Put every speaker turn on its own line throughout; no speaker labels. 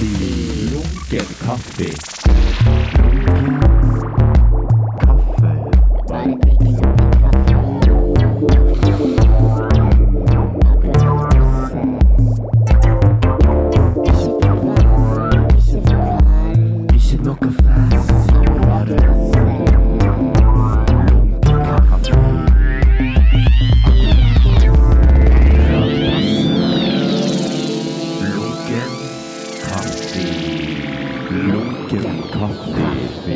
Lunken kaffe. Kaffe. Ikke noe fast. Bare lunken kaffe. Lunken kaffe. Lunken kaffe.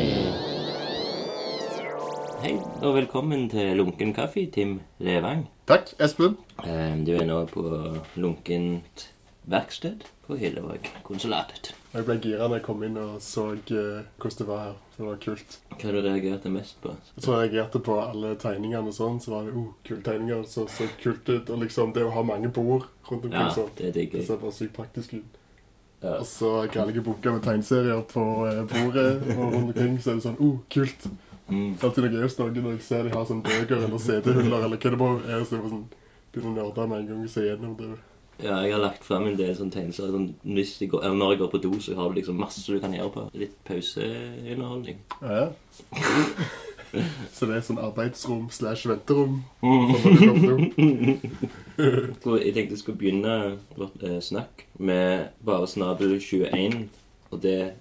Hei, og velkommen til Lunken kaffe, Tim Levang.
Takk, Espen.
Eh, Du er nå på Lunkent verksted på Hillevåg konsulatet.
Jeg ble gira da jeg kom inn og så eh, hvordan det var her. Det var kult.
Hva har du reagert mest på?
Jeg tror jeg reagerte på alle tegningene og sånn, så var det oh, kule tegninger. Det så, så kult ut. Og liksom det å ha mange bord rundt omkring
Ja,
sånn.
det digger
Det
jeg.
ser bare sykt praktisk ut.
Ja.
Og så grelle boker med tegneserier på eh, bordet og rundt omkring, så er det sånn oh, kult.
Mm.
Alltid noe gøy hos noen når jeg ser de har sånn bøker eller CD-huller eller hva det bare er. Så jeg bare sånn begynner å nerde med en gang jeg ser gjennom det.
ja, jeg har lagt frem en del sånne tegnelser. Sånn, hvis jeg går, eller når jeg går på do, så har du liksom masse du kan gjøre på. Litt pauseunderholdning.
Ja. Så det er sånn arbeidsrom slash venterom. for når du kommer til do.
Skulle- Jeg tenkte jeg skulle begynne vårt eh, snakk med bare snabel 21, og det,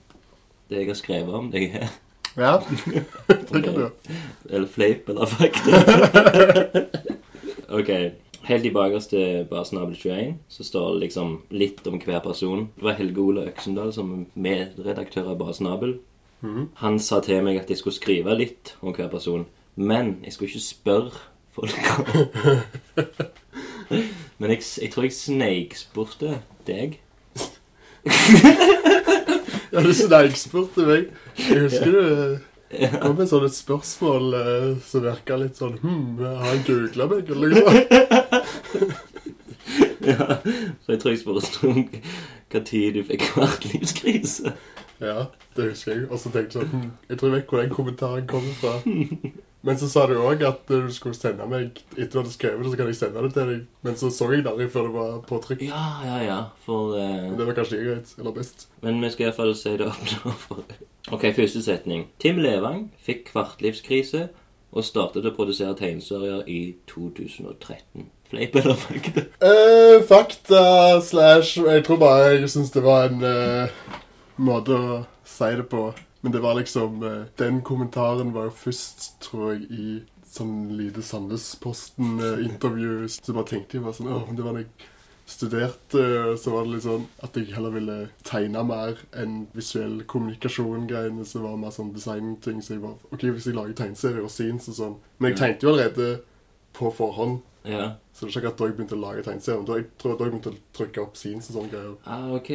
det jeg har skrevet om deg her.
Ja, det kan du gjøre.
Eller fleip eller fakta. ok. Helt i bakerste basenabel 21 så står det liksom litt om hver person. Det var Helge Ola Øksendal som er medredaktør av Basenabel. Han sa til meg at jeg skulle skrive litt om hver person, men jeg skulle ikke spørre folk om Men jeg, jeg tror jeg sneikspurte deg.
Ja, du sneikspurte meg. Jeg husker du eh, kom med sånne spørsmål eh, som virka litt sånn Hm, har han googla meg, eller noe sånt?
Ja, så jeg tror jeg spurte om når du fikk kvartlivskrise.
Ja, det husker jeg. Og så tenkte jeg sånn hm, Jeg tror jeg vet hvor den kommentaren kommer fra. Men så sa du òg at eh, du skulle sende meg etter du hadde skrevet det, så kan jeg sende det til deg. Men så så jeg det aldri før det var på trykk.
Ja, ja, ja. For eh,
Men Det var kanskje greit. Eller best.
Men vi skal iallfall si det opp nå. for- Ok, første setning. Tim Levang fikk kvartlivskrise og startet å produsere tegneserier i 2013. Fleip eller fakta?
Eh, fakta slash Jeg tror bare jeg syns det var en eh, måte å si det på. Men det var liksom eh, Den kommentaren var jo først, tror jeg, i sånn lite Sandnesposten-intervju. så bare tenkte jeg bare sånn Åh, det var da jeg studerte, så var det litt sånn at jeg heller ville tegne mer enn visuell kommunikasjon-greiene. Så var det mer sånn designting. Så jeg bare OK, hvis jeg lager tegneserier og scenes og sånn Men jeg tenkte jo allerede på forhånd.
Ja.
Så det er ikke at da jeg begynte å lage tegneserier, men da jeg tror jeg da jeg begynte å trykke opp scenes og sånne greier.
Ah, ok.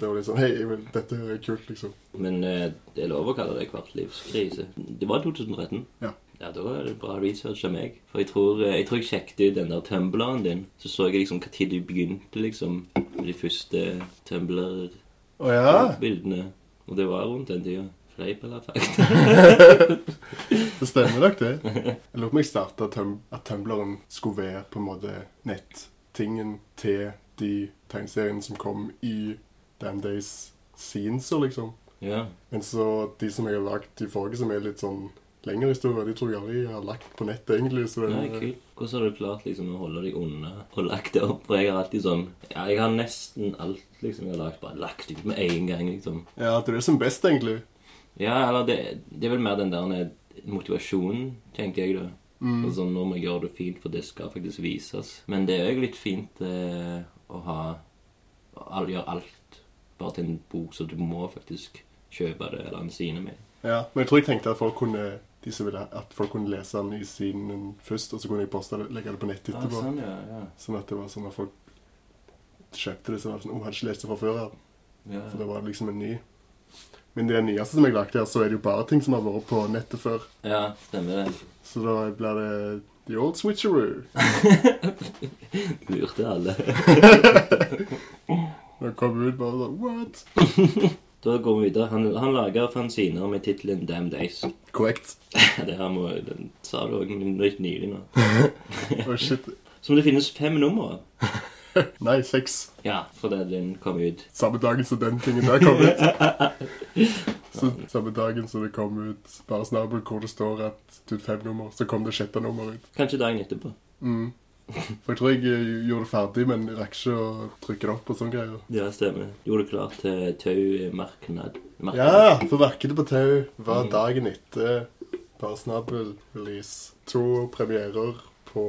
Det var litt sånn Hei, jeg vil, dette her er kult, liksom.
Men eh, det er lov å kalle det kvartlivskrise. Det var 2013.
Ja.
Ja, Da er det bra research av meg. For jeg tror eh, jeg, tror jeg sjekket ut den der tumbleren din. Så så jeg liksom når du begynte liksom med de første tumbler-bildene.
Å ja?
Og det var rundt den tida. Fleip eller fakta?
Det stemmer nok, det. Jeg lurer på om jeg starta at Tumbleren skulle være på en måte nettingen til de tegneseriene som kom i Damn Days scenes og liksom.
Ja.
Men så de som jeg har lagd de forrige, som er litt sånn lengre historier, de tror jeg aldri jeg har lagt på nettet, egentlig. Så det,
Nei, kult. Hvordan har du klart liksom å holde deg unna og lagt det opp? For jeg har alltid sånn Ja, jeg har nesten alt liksom jeg har lagt, bare lagt ut med en gang, liksom.
ja, det er det som er best, egentlig.
Ja, eller det, det er vel mer den der motivasjonen, tenker jeg, da.
Mm.
Og sånn, nå må jeg gjøre det fint, for det skal faktisk vises. Men det er jo litt fint eh, å ha å all- Gjøre alt bare til en bok, så du må faktisk kjøpe det eller en sine med.
Ja, men jeg tror jeg tenkte at folk kunne de som ville, at folk kunne lese den i siden først, og så kunne jeg poste det, legge det på nettet
Ah,
etterpå.
sånn, ja, ja.
Sånn at det var sånn at folk kjøpte det, så var det sånn, oh, jeg hadde ikke lest det fra før av.
ja.
For det var liksom en ny. Men det nyeste som jeg lagde her, så er det jo bare ting som har vært på nettet før.
ja, stemmer det.
Så da blir det The Old Switcheroo.
Lurte alle.
Når det kom ut bare sånn, what?
Da går vi videre. Han, han lager fanziner med tittelen Damn Days.
Korrekt.
Det her må, den sa du òg nylig nå.
Å shit.
Som det finnes fem nummer av.
Nei, seks.
Ja, fordi den kom ut.
Samme dagen som den tingen der kom ut. Så, samme dagen som det kom ut Bare snabel hvor det står at Dude 5-nummer, så kom det sjette nummer ut.
Kanskje dagen etterpå.
Mm. For jeg tror jeg eh, gjorde det ferdig, men jeg rakk ikke å trykke det opp og sånne greier.
Ja, stemmer. Gjorde det klart til Tau eh, marknad. Marknad.
Ja, for verkene på tau var
Mm.
dagen etter Bare snabel release. To premierer på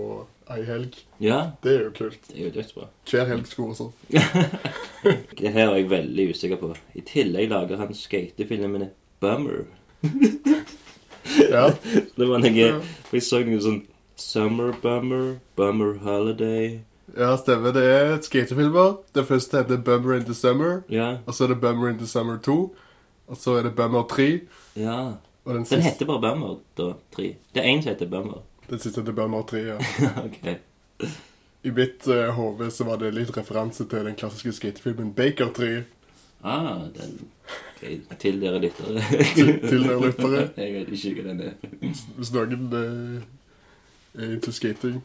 ei helg.
Ja,
Det er jo kult.
det er jo dødsbra.
Hver helg skulle være sånn.
Det her er jeg veldig usikker på. I tillegg lager han skatefilmene Bummer.
Ja.
Det var noe For jeg så noe sånn Summer Bummer, Bummer Holiday
ja, stemmer. Det er et skatefilmer. Det første heter Bummer in the Summer.
Ja.
Og så er det Bummer in the Summer 2. Og så er det Bummer 3.
ja.
Og den
Den
siste,
heter bare Bummer, da. Tre. Det er én som heter Bummer.
den siste heter Bummer 3, ja.
ok.
I mitt uh, hode så var det litt referanse til den klassiske skatefilmen Baker 3.
Ah, den ok, Til dere lyttere.
Til- til dere lyttere.
jeg vet ikke hva den er.
Hvis noen eh, er into skating.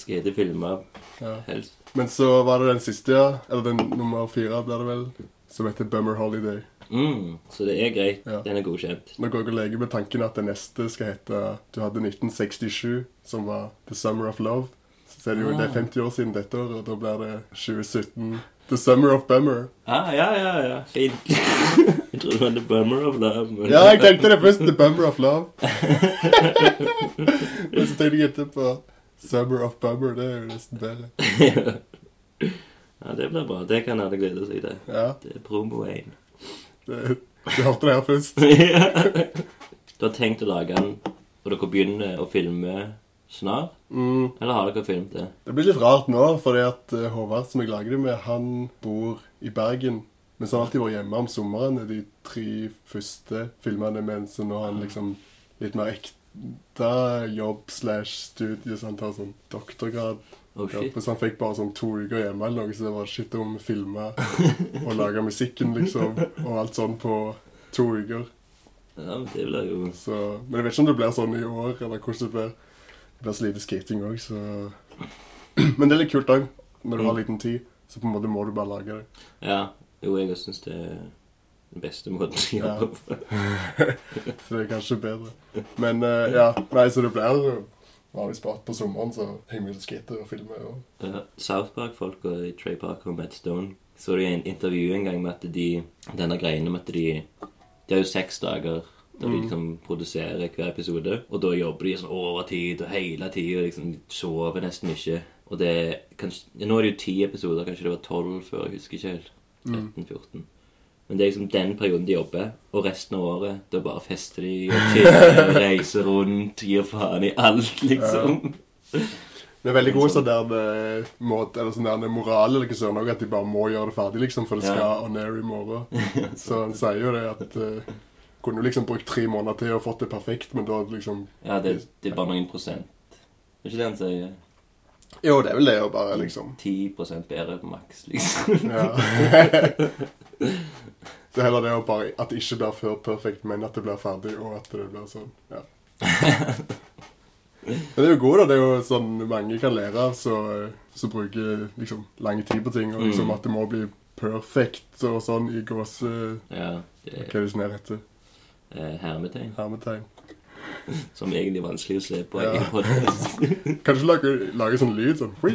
Skatefilmer,
Ja.
helst.
Men så var det den siste, ja. Eller den nummer fire, blir det vel. Som heter Bummer Holiday.
Mm, så det er greit.
Ja.
Den er godkjent.
Nå går jeg og leker med tanken at det neste skal hete Du hadde 1967, som var The Summer of Love. Så er det jo det er 50 år siden dette året, og da blir det 2017. The Summer of Bummer.
Ah, ja, ja, ja. Fint. jeg trodde det var The Bummer of Love. men-
Ja, jeg tenkte det først. The Bummer of Love. Men så tenkte jeg etterpå Summer of Bummer. Det er jo nesten bedre.
ja, det blir bra. Det kan alle glede seg til.
Ja,
Det er promo 1.
det, Du hørte det her først.
du har tenkt å lage den, og dere begynner å filme snart?
Mm.
Eller har dere filmet det?
Det blir litt rart nå, fordi at eh, Håvard som jeg lager det med, han bor i Bergen. Men så har han alltid vært hjemme om sommeren de tre første filmene, mens nå har han liksom litt mer ekte jobb slash studie, så han tar sånn doktorgrad.
Oh
Ja,
shit.
så han fikk bare sånn to uker hjemme eller noe, så det var shit om å filme og lage musikken, liksom, og alt sånn på to uker.
Ja, men det blir jo
Så, men jeg vet ikke om det blir sånn i år, eller hvordan det blir. Det blir så lite skating òg, så Men det er litt kult òg, når du har
Mm.
liten tid. Så på en måte må du bare lage det.
Ja. Jo, jeg syns det er den beste måten å
Ja.
jobbe på.
Så det er kanskje bedre. Men eh, ja, nei, så det blir jo vanligvis bare på sommeren, så henger vi og skater og filmer. Og...
Ja, South Park-folk og Trey Parker og Matt Stone så det i en intervju en gang med at de Denne greien om at de De har jo seks dager der de liksom produserer hver episode. Og da jobber de sånn overtid og hele tida. Liksom, de sover nesten ikke. Og det er kanskje, ja, Nå er det jo ti episoder. Kanskje det var tolv før. Jeg husker ikke helt. Mm. 13-14. Men det er liksom den perioden de jobber, og resten av året da bare fester de og chiller, reiser rundt, gir faen i alt, liksom.
Det er veldig god sånn der eh, måte, eller sånn der moral eller hva søren òg, at de bare må gjøre det ferdig, liksom, for det skal
Ja.
on air i morgen. Så han sier jo det at eh, Kunne jo liksom brukt tre måneder til og fått det perfekt, men da liksom
Ja, det, det er bare noen prosent. Det er ikke det han sier.
Jo, det er vel det å bare liksom
10 bedre på maks, liksom.
Ja. Så heller det å bare at det ikke blir før perfekt, men at det blir ferdig, og at det blir sånn. Ja. Men det er jo god, da. Det er jo sånn mange kan lære av, så, eh, så bruker liksom lang tid på ting. Og liksom
Mm.
at det må bli perfekt og sånn i gåse...
Ja, det
Hva
er
er det som er rett til?
eh, hermetegn.
Hermetegn.
Som egentlig er vanskelig å se på
Ja.
i podkast.
Kan du ikke lage, lage sånn lyd sånn Så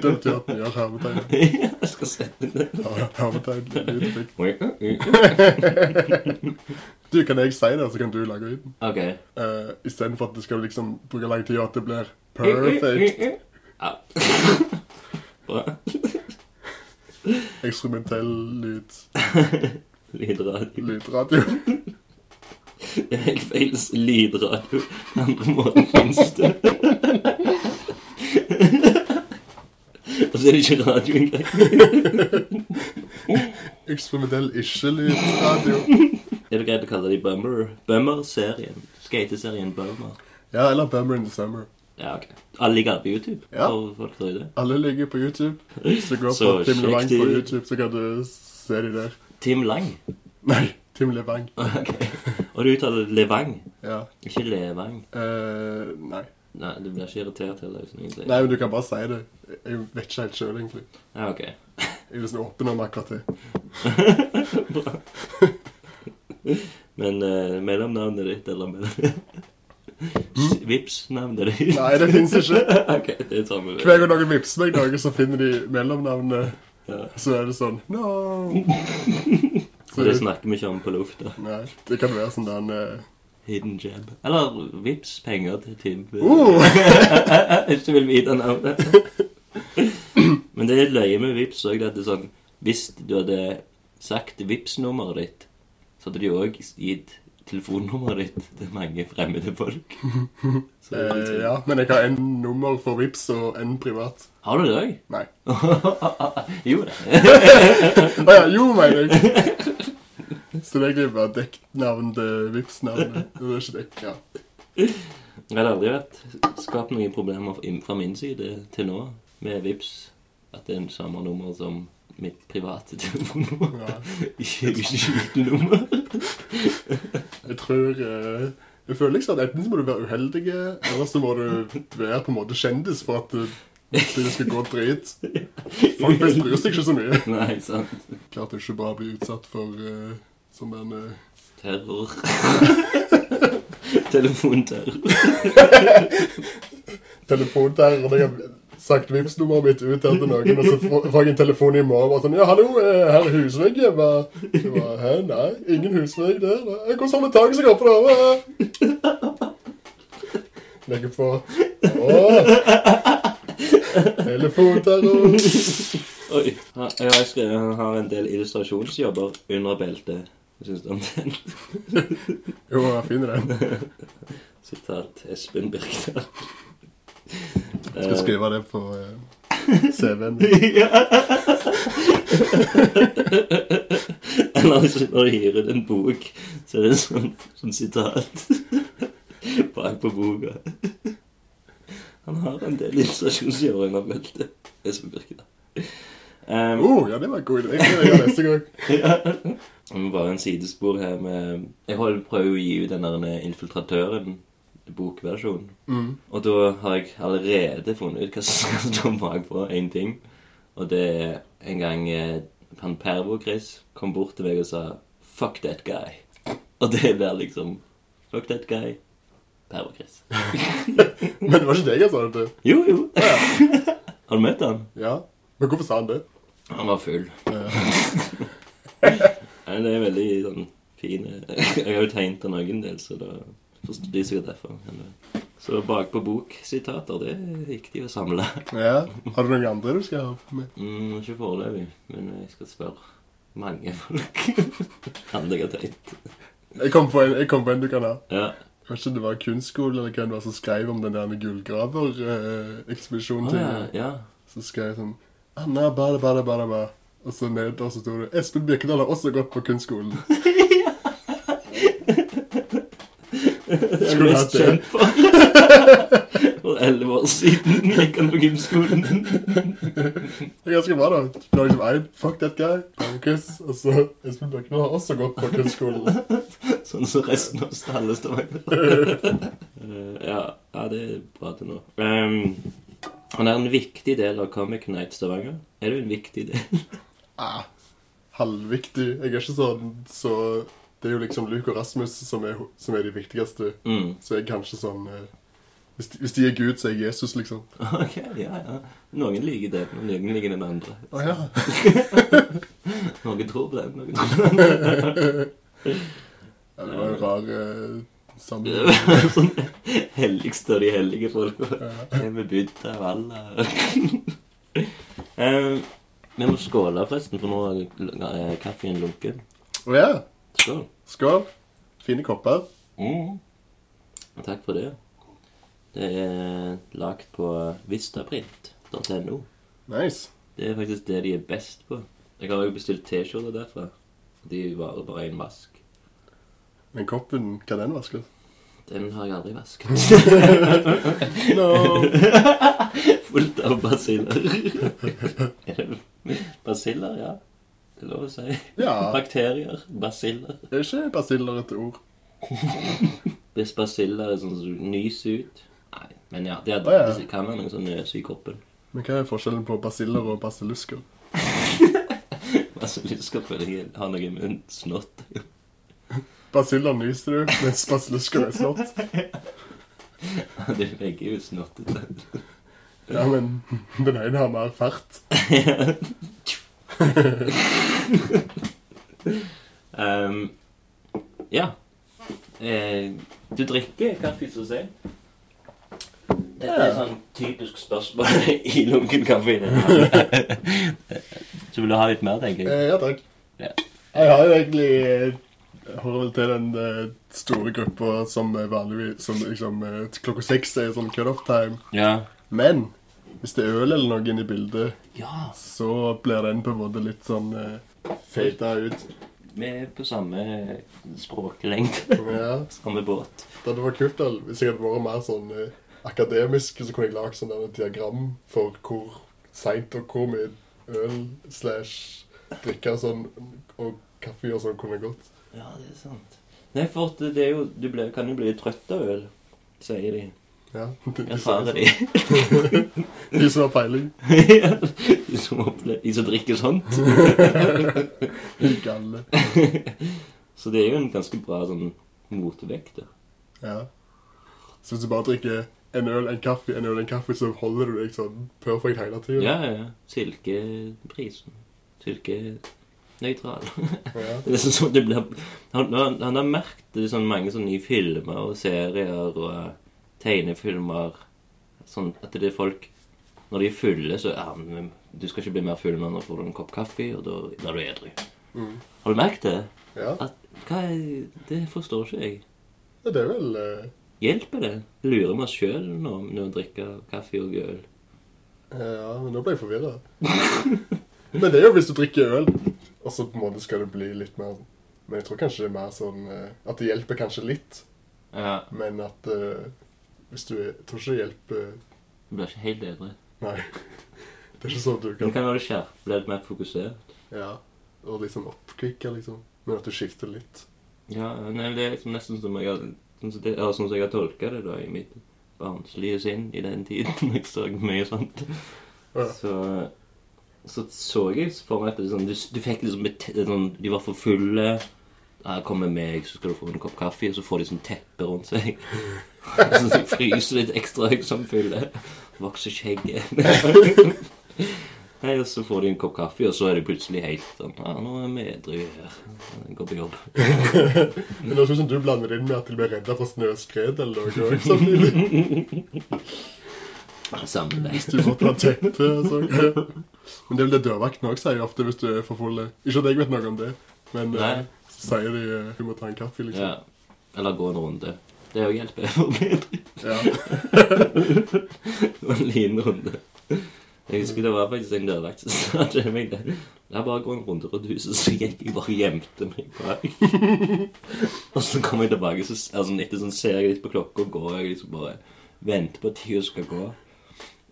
dømt gjør at den gjør hermetegn.
Jeg skal sette det
Ja, Hermetegn. lydeffekt.
OK.
Du, kan jeg si det, så kan du lage lyden? uh, istedenfor at det skal liksom bruke lang tid, og at det blir perfect
Ja. Bra.
eksperimentell lyd,
Lydradio.
lydradio.
Det er helt feil lydradio. Andre måten fins det. Og så er det ikke radio engang.
Eksperimentell ikke-lydradio.
Er det greit å kalle de Bummer? Bummer-serien. Skateserien Bummer.
Ja, eller Bummer in the Summer.
Ja, ok. Alle ligger på YouTube?
Ja.
For folk der ute.
Alle ligger på YouTube. Hvis du går
Så
på Tim
sjekk
Levang på
de-
YouTube, så kan du se de der.
Tim Lang.
Nei, Tim Levang.
Ok. Og du uttaler Levang,
Ja.
ikke Levang.
eh, nei.
Nei, du blir ikke irritert heller. hvis noen sier
Nei, men du kan bare si det. Jeg vet ikke helt sjøl, egentlig.
Ja, ok.
Jeg er liksom åpen om akkurat det.
Bra. Men eh, mellomnavnet ditt, eller mellom... Vips, navnet ditt.
Hmm? Nei, det fins ikke.
ok, det tar vi
Hver gang noen vipser meg noe, så finner de mellomnavnet.
Ja.
Så er det sånn No!
Og det snakker vi ikke om på lufta.
Nei, det kan være sånn den eh,
Hidden jab. Eller vips penger til Tim.
Oh!
Hvis du vil vite navnet. Men det er litt løye med vips òg. Det er sånn Hvis du hadde sagt vips nummeret ditt, så hadde de òg gitt telefonnummeret ditt til mange fremmede folk. Så, det er
eh,
litt sånn.
Ja, men jeg har en nummer for vips og en privat.
Har du det òg?
Nei.
jo da.
Å ja, jo, mener jeg. Så det er egentlig bare dekknavn til Vipps-navnet. Det er ikke dekk, ja.
Jeg har aldri vært skapt noen problemer inn- fra min side til nå med vips. At det er en samme nummer som mitt private telefonnummer.
ja.
Ikke ikke skjulenummer.
Jeg tror eh, Jeg føler liksom at enten så må du være uheldig, eller så må du være på en måte kjendis for at eh, det skal gå drit. Folk flest bryr seg ikke så mye.
Nei, sant.
Klart det ikke bare blir utsatt for eh, sånn der eh,
Terror. Telefonterror.
telefonterror. og Jeg har sagt Vipps-nummeret mitt ut her til noen, og så får- får jeg en telefon i morgen og sånn Ja, hallo, eh, her er husvegg hjemme. Jeg bare, Hæ, nei, ingen husvegg der. nei. Eh, Hvordan har det taket seg oppe der? eh?» Legger på. Åh. Telefonterror.
Oi. Ja, Jeg har, skrevet, jeg har en del illustrasjonsjobber under beltet. Hva Syns du om den?
Jo, jeg finner den.
Sitat Espen Birkedal.
Skal skrive det på eh, CV-en.
Ja. Eller hvis du bare hyrer ut en bok, så er det sånn, sånn sitat bak på boka. Han har en del illustrasjonsjobber under beltet. Espen Birkedal. Um,
Oh, ja, det var en god idé. Det skal jeg gjøre neste gang.
Men Bare en sidespor her med Jeg holder prøver å gi ut den der Infiltratøren, bokversjonen.
Mm.
Og da har jeg allerede funnet ut hva som skal stå bakpå én ting. Og det er en gang eh, han Pervo-Chris kom bort til meg og sa 'fuck that guy'. Og det blir liksom 'fuck that guy', Pervo-Chris.
Men det var ikke deg jeg sa det til.
Jo, jo. har du møtt han?
Ja. Men hvorfor sa han det?
Han var full.
Eh,
Nei, det er veldig sånn fin Jeg har jo tegnet den òg en del, så da forstår de sikkert derfor. Men, eh, Så bakpå bok-sitater, det er viktig å samle.
Ja. Har du noen andre du skal ha med?
Mm, ikke foreløpig, men jeg skal spørre mange folk. Andre jeg har tegnet.
Jeg kom på en, jeg kom på en du kan ha.
Ja.
Jeg vet ikke om det var kunstskolen eller hvem det var som skrev om den der
Å,
gullgraverekspedisjonen til
Ah, ja, ja.
Så skrev jeg sånn Anna, bada, bada, bada, bada. Og så nederst så sto det Espen Birkedal har også gått på kunstskolen.
Det er jeg
Skulle
mest
hatt det.
kjent for. For elleve år siden gikk han på gymskolen.
Det er ganske bra, da. Du har liksom en Fuck that guy. Markus. Og så Espen Birkedal har også gått på kunstskolen.
Sånn som resten av alle Stavanger. Eh, ja, ja, det er bra til nå. Ehm, han er en viktig del av Comic Night Stavanger. Er du en viktig del?
ah, halvviktig. Jeg er ikke sånn så Det er jo liksom Luke og Rasmus som er, ho- som er de viktigste.
Mm.
Så jeg er kanskje sånn eh, hvis de, hvis de er Gud, så er jeg Jesus, liksom.
Ok, ja, ja. Noen liker det, og noen liker den andre.
Å ja.
Noen tror på den, noen tror på
ja. Det var en rar eh, sammenheng.
den. Sånn helligste av de hellige folk. Hvem er Buddha av alle? Ehm, vi må skåle forresten, for nå er eh, kaffen lunken.
Å ja.
Skål.
Skål. Fine kopper.
Mm. Takk for det. Det er lagd på vistaprint.no.
Nice.
Det er faktisk det de er best på. Jeg har jo bestilt T-skjorter derfra. De varer bare én vask.
Men koppen, kan den vaskes?
Den har jeg aldri vasket.
No.
Fullt av basiller. Er det basiller, ja? Det er lov å si.
Ja.
Bakterier. Basiller.
Er ikke basiller et ord?
Hvis basiller er sånn som nys ut, Nei, men ja, det, er,
Å, ja.
det kan være noe sånn nøse i kroppen.
Men hva er forskjellen på basiller og basillusker?
Altså, lysker føler jeg har noe med en snott.
Basiller nyser du, mens basillusker er slått.
Det er begge er jo snottete.
Ja, men den ene har mer fart.
Ehm, ja. Eh, du drikker kaffe rosé. Dette er et sånn typisk spørsmål i lunken kaffe. Så vil du ha litt mer, tenker jeg.
Eh, ja takk.
Ja.
Jeg har jo egentlig eh, hører vel til den eh, store gruppa som eh, vanligvis som liksom, eh, klokka seks er sånn cut-off time.
Eh, Ja.
Men hvis det er øl eller noe inne i bildet,
ja.
så blir den på en måte litt sånn eh, feita ut.
Vi er på samme språklengde.
Ja,
Samme båt.
Det hadde vært kult da, hvis jeg hadde vært mer sånn eh, akademisk, så kunne jeg lage sånn der diagram for hvor seint og hvor mye øl slash drikke og sånn, og kaffe og sånn kunne gått.
Ja, det er sant. Nei, for at det er jo, du ble, kan jo bli trøtt av øl, sier de.
Ja, de,
Jeg
som-
svarer de.
de som har peiling.
de, som opple- de som drikker sånt.
De Galle.
Så det er jo en ganske bra sånn motvekt. da.
Ja. Så hvis du bare drikker en øl, en kaffe, en øl, en kaffe, så holder du deg sånn perfekt hele tiden.
Ja, ja. ja. Silkeprisen. Silkenøytral.
Ja.
Det er sånn som det blir Han, han, han har merket det sånn mange sånne nye filmer og serier og eh, tegnefilmer Sånn at det er folk Når de er fulle, så ja, men Du skal ikke bli mer full, men nå får du en kopp kaffe, og da blir du edru.
Mm.
Har du merket det?
ja.
At, hva er, det forstår ikke jeg.
Ja, Det er vel eh,
Hjelper det? Lurer vi oss sjøl nå med å drikke kaffe og øl?
Ja, men nå ble jeg forvirra. men det er jo hvis du drikker øl, og så på en måte skal det bli litt mer Men jeg tror kanskje det er mer sånn eh, at det hjelper kanskje litt,
Ja.
men at eh, hvis du er jeg Tror ikke det hjelper
Du blir ikke helt edru.
Nei. Det er ikke sånn at du
Du
kan
kan være skjerpet, bli litt mer fokusert.
Ja. Og liksom oppkvikke, liksom. Men at du skifter litt.
Ja, nei, det er liksom nesten som jeg har sånn som det- eller sånn som jeg har tolka det da i mitt barnslige sinn i den tiden. Jeg så mye sånn sånt.
Ja.
Så så så jeg for meg at det er sånn, du, du fikk liksom et te- sånn, De var for fulle. Ja, 'Kom med meg, så skal du få en kopp kaffe.' Og så får de sånn teppe rundt seg. Sånn at de fryser litt ekstra høyt som fylle. Vokser skjegget. Nei, og Så får de en kopp kaffe, og så er de plutselig helt sånn Ja, 'Nå er vi edru her. Går på jobb.'
Men det er sånn som du blander inn med at du blir redda for snøskred eller noe òg, samtidig.
Sammenlagt.
Hvis du måtte ha teppe og sånn. Men det er vel det dørvakten òg sier ofte hvis du er for full. Ikke at jeg vet noe om det, men eh,
Nei.
Så sier de eh, du må ta en kaffe, liksom.
Ja. Eller gå en runde. Det òg hjelper for bedre.
Ja.
En liten runde. Jeg husker det var faktisk en dørvakt som sa til meg det. Det er bare å gå en runde rundt huset, så gikk jeg bare og gjemte meg bak. og så kom jeg tilbake, så altså, etter sånn ser jeg litt på klokka og går jeg liksom bare Venter på at tida skal gå.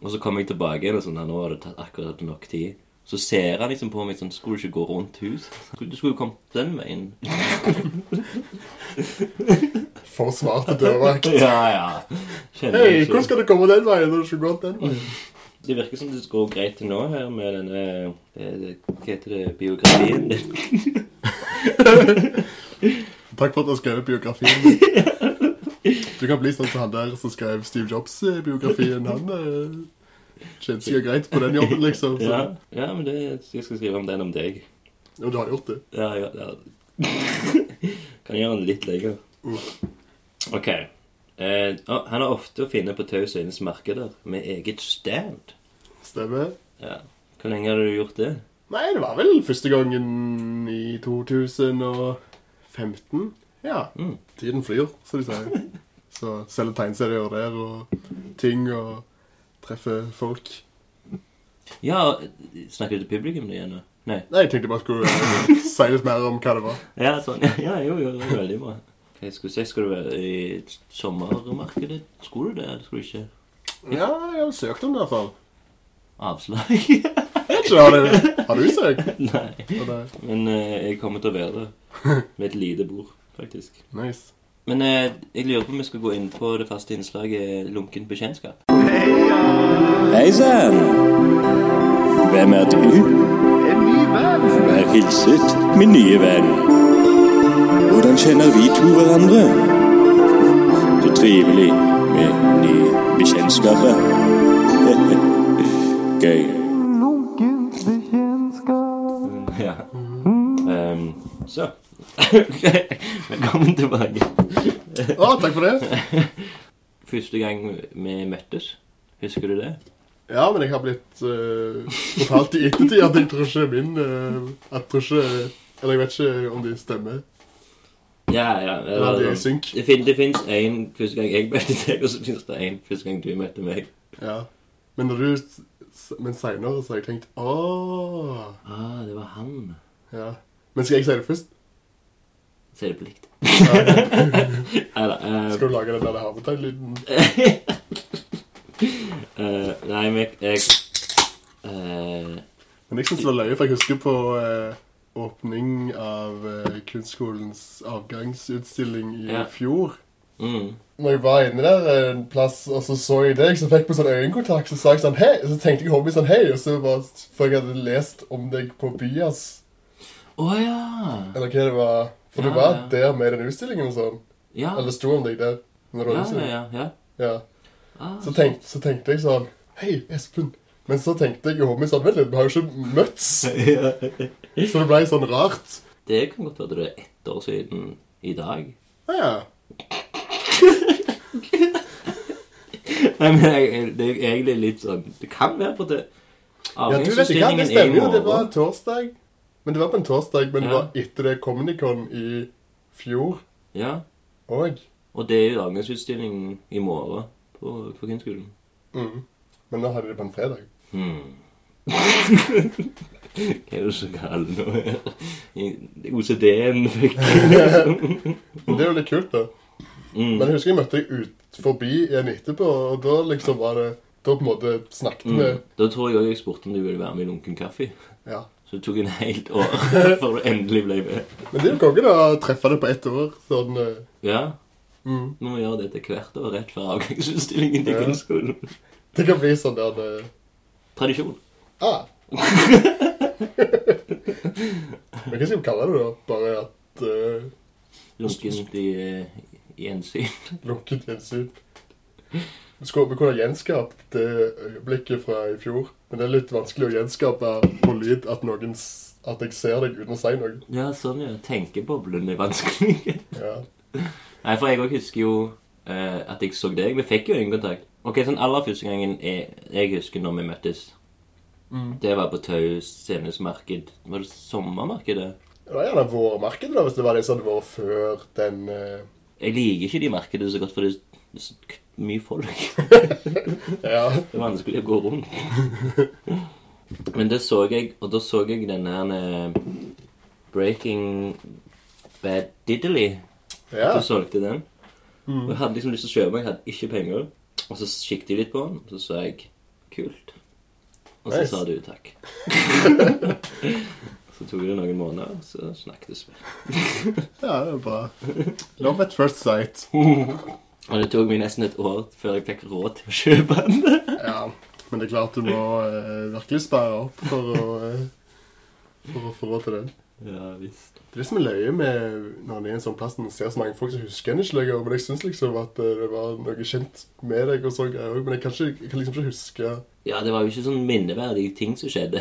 Og så kom jeg tilbake igjen, og sånn, «Nei, nå har det tatt akkurat tatt nok tid. Så ser han liksom på meg sånn Skulle du ikke gå rundt huset? Du skulle jo kommet den veien.
For smarte dørvakt.
Ja, ja. Kjenner
Hei,
jeg ikke.
hvordan skal du komme den veien når du ikke gått den
Mm.
veien?
Det virker som det går greit til nå her med denne eh, Hva heter det? Biografien din?
Takk for at du har skrevet biografien min. Du kan bli sånn som han der som skrev Steve Jobs-biografien. Han eh, tjente seg jo greit på den jobben, liksom. Så.
Ja, ja men det, jeg skal skrive om den om deg.
Og du har gjort det.
Ja, ja, ja. Kan gjøre den litt lenger. Mm. OK. Eh, å, han er ofte å finne på Taus Øynes markeder med eget stand.
Stemmer.
Ja. Hvor lenge har du gjort det?
Nei, det var vel første gangen i 2015. Ja.
Mm.
Tiden flyr, som de sier. Så selger tegneserier der og ting og treffer folk.
Ja, snakker du til publikum nå igjen? nå? Nei.
Nei, jeg tenkte bare skulle eh, si litt mer om hva det var.
Ja, sånn. Ja, jo, jo, det er veldig bra. Ok, skal du se, skal du være i sommermarkedet? Skulle du det, eller skulle du ikke?
Ja, jeg har søkt om det i hvert fall.
Avslag?
Vet ikke, har, du, har du søkt?
Nei.
Og det-
Men eh, jeg kommer til å være det. Med et lite bord, faktisk.
Nice.
Men eh, jeg lurer på om vi skal gå inn på det faste innslaget lunken bekjentskap.
Hei sann! Hvem er du?
En ny venn!
Vær hilset, min nye venn. Hvordan kjenner vi to hverandre? Så trivelig med nye bekjentskaper. Gøy.
Ja. Ehm, så Velkommen tilbake.
Å, takk for det.
Første gang vi møttes, husker du det?
Ja, men jeg har blitt eh, fortalt i ettertid at jeg tror ikke min eh, Jeg tror ikke Eller jeg vet ikke om de stemmer.
Ja, ja.
Eller at de er i
Det, sånn-
synk.
det, fin, det fins én første gang jeg møtte deg, og så fins det én første gang du møtte meg.
Ja. Men når du s- Men seinere så har jeg tenkt Åh
Ah, det var han.
Ja. Men skal jeg si det først?
Så er det på likt.
Ja.
Nei da. ehm,
Skal du lage den der hermetegnlyden?
eh, nei, men jeg eh,
Men jeg syns det var løye, for jeg husker på eh, åpning av eh, kunstskolens avgangsutstilling i
Ja.
fjor.
mm,
Når jeg var inne der eh, en plass, og så så jeg deg, så fikk jeg på sånn øyekontakt, så sa jeg sånn hei, så tenkte jeg hobbyen sånn hei, og så bare s- For jeg hadde lest om deg på Byas,
Å ja!
eller hva det var. For
Ja,
du var
ja.
der med den utstillingen og sånn.
Ja,
Eller det sto om deg der. Når
ja,
du hadde
ja.
utstillingen.
ja, ja.
Ja.
Ah,
Så, tenk, så tenkte jeg sånn Hei, Espen. Men så tenkte jeg i hodet mitt sånn Vent litt, vi har jo ikke møtts. Så det ble sånn rart.
Det kan godt være det er ett år siden i dag.
Ja, Ah, ja.
Nei, men jeg, jeg- det er egentlig litt sånn Det kan være på det
ja du vet ikke hva, det
Avgangsutstillingen er i
stemmer jo. Det var
morgen.
torsdag. Men det var på en torsdag, men det
Ja.
var etter det Communicon i fjor
Ja,
òg.
og det er jo avgangsutstillingen i morgen på, på kunstskolen.
Mm. Men nå hadde de det på en fredag.
Hmm. Hva er det som kaller nå her? I- OCD-en fikk
Men det er jo litt kult, da.
Mm.
Men jeg husker jeg møtte deg ut forbi igjen etterpå, og da liksom var det Da på en måte snakket vi
mm. Da tror jeg også jeg spurte om du ville være med i Lunken kaffe.
Ja.
Så det tok en helt år før du endelig ble med.
Men det er jo konge, da, å treffe det på ett år. Sånn eh,
Ja,
mm.
må vi gjøre dette hvert år rett før avgangsutstillingen til
Ja.
kunstskolen.
Det kan bli sånn der det
Tradisjon.
Ah. Men hva skal vi kalle det, da? Bare at uh,
Lunkent i, eh, i gjensyn.
lukket gjensyn Vi skulle- Vi kunne ha gjenskapt det øyeblikket fra i fjor, men det er litt vanskelig å gjenskape på lyd at noen s- at jeg ser deg uten å si noe.
Ja, sånn ja. Tenkeboblen er vanskelig.
Ja.
Nei, for jeg òg husker jo eh, at jeg så deg. Vi fikk jo øyekontakt. Ok, sånn aller første gangen jeg, jeg husker når vi møttes, det var på Tau Scenes marked. Var det sommermarkedet?
Det var gjerne vårmarkedet, da, hvis det var det som hadde vært før den eh,
Jeg liker ikke de markedene så godt, for det er det er så k- mye folk.
Ja.
Det er vanskelig å gå rundt. Men det så jeg, og da så jeg den her eh, Breaking Bad Diddly.
ja.
Så solgte jeg den. Og jeg hadde liksom lyst til å kjøpe, men jeg hadde ikke penger. Og så kikket jeg litt på den, og så sa jeg 'kult'. Og så
Nice.
sa du takk. så tok det noen måneder, og så snakkes vi.
ja, det er bra. Love at first sight.
Og det tok meg nesten et år før jeg fikk råd til å kjøpe den.
Ja, men det er klart du må eh, virkelig spare opp for å, eh, for å få råd til den.
ja visst.
Det er det som er løye med når en er i en sånn plass og ser så mange folk, så husker en ikke lenger. Men jeg syns liksom at eh, det var noe kjent med deg og sånn greier òg. Men jeg kan, ikke, jeg kan liksom ikke huske
Ja, det var jo ikke sånn minneverdige ting som skjedde.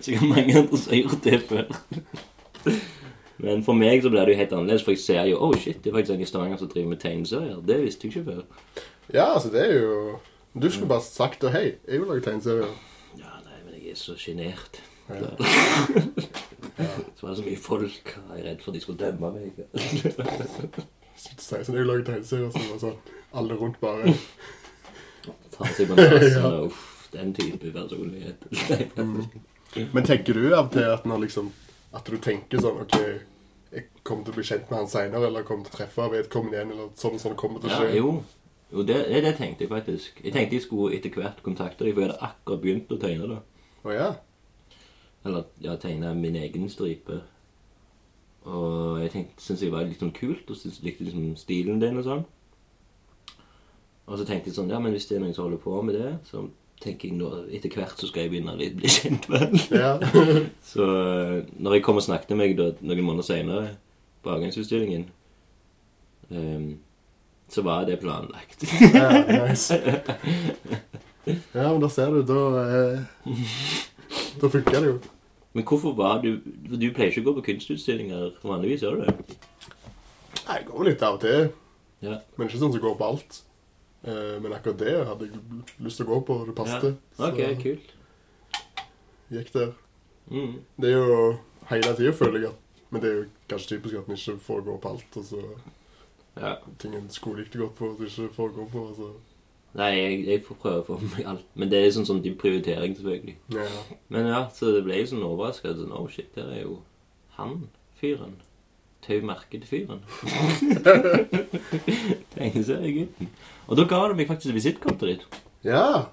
Sikkert mange andre som har gjort det før. Men for meg så blir det jo helt annerledes, for jeg ser jo oh shit, det er faktisk en i Stavanger som driver med tegneserier. Det visste jeg ikke før.
Ja, altså, det er jo Du skulle bare sagt det. Hei, jeg vil lage tegneserie.
Ja, nei, men jeg er så sjenert.
Ja.
Ja. så var det så mye folk. og Jeg er redd for de skulle dømme meg.
Så sier jeg sånn, jeg vil lage tegneserie, og så bare sånn alle rundt bare
Ta seg på nesen
Ja. Mm.
og uff, den type personlighet. Nei,
Men tenker du av og til at når liksom At du tenker sånn OK, jeg kommer til å bli kjent med han seinere, eller kommer til å treffe vedkommende igjen, eller sånn og sånn kommer til å
ja,
skje?
jo. Jo, det, det, det tenkte jeg faktisk. Jeg tenkte jeg skulle etter hvert kontakte deg, for jeg hadde akkurat begynt å tegne da.
Å ja.
Eller ja, tegne min egen stripe. Og jeg tenkte, syntes jeg var litt sånn kult, og syntes likte liksom stilen din og sånn. Og så tenkte jeg sånn, ja, men hvis det er noen som holder på med det, så tenker jeg nå, etter hvert så skal jeg begynne å litt bli kjent med den.
Ja.
Så eh, når jeg kom og snakket med meg da, noen måneder senere på avgangsutstillingen, ehm, så var det planlagt.
ja, nice. Ja, men da ser du, da eh, Da funker det jo.
Men hvorfor var du for Du pleier ikke å gå på kunstutstillinger vanligvis, gjør du det?
Nei, Jeg går vel litt av og til,
Ja.
men ikke sånn som går på alt. Eh, men akkurat det hadde jeg lyst til å gå på, og det passet.
Ok, kult.
Så gikk der.
Mm.
Det er jo hele tida, føler jeg, at men det er jo kanskje typisk at en ikke får gå på alt. Og så
Ja.
ting en skulle likt godt på, at en ikke får gå på. Og så.
Nei, jeg, jeg får prøve å få med meg alt. Men det er sånn sånn din prioritering, selvfølgelig.
Ja.
Men ja, så det ble jo sånn overrasket. Sånn, oh shit, der er jo han fyren. Taumerket-fyren. Tegneseriegutten. Og da ga du meg faktisk visittkortet ditt.
ja!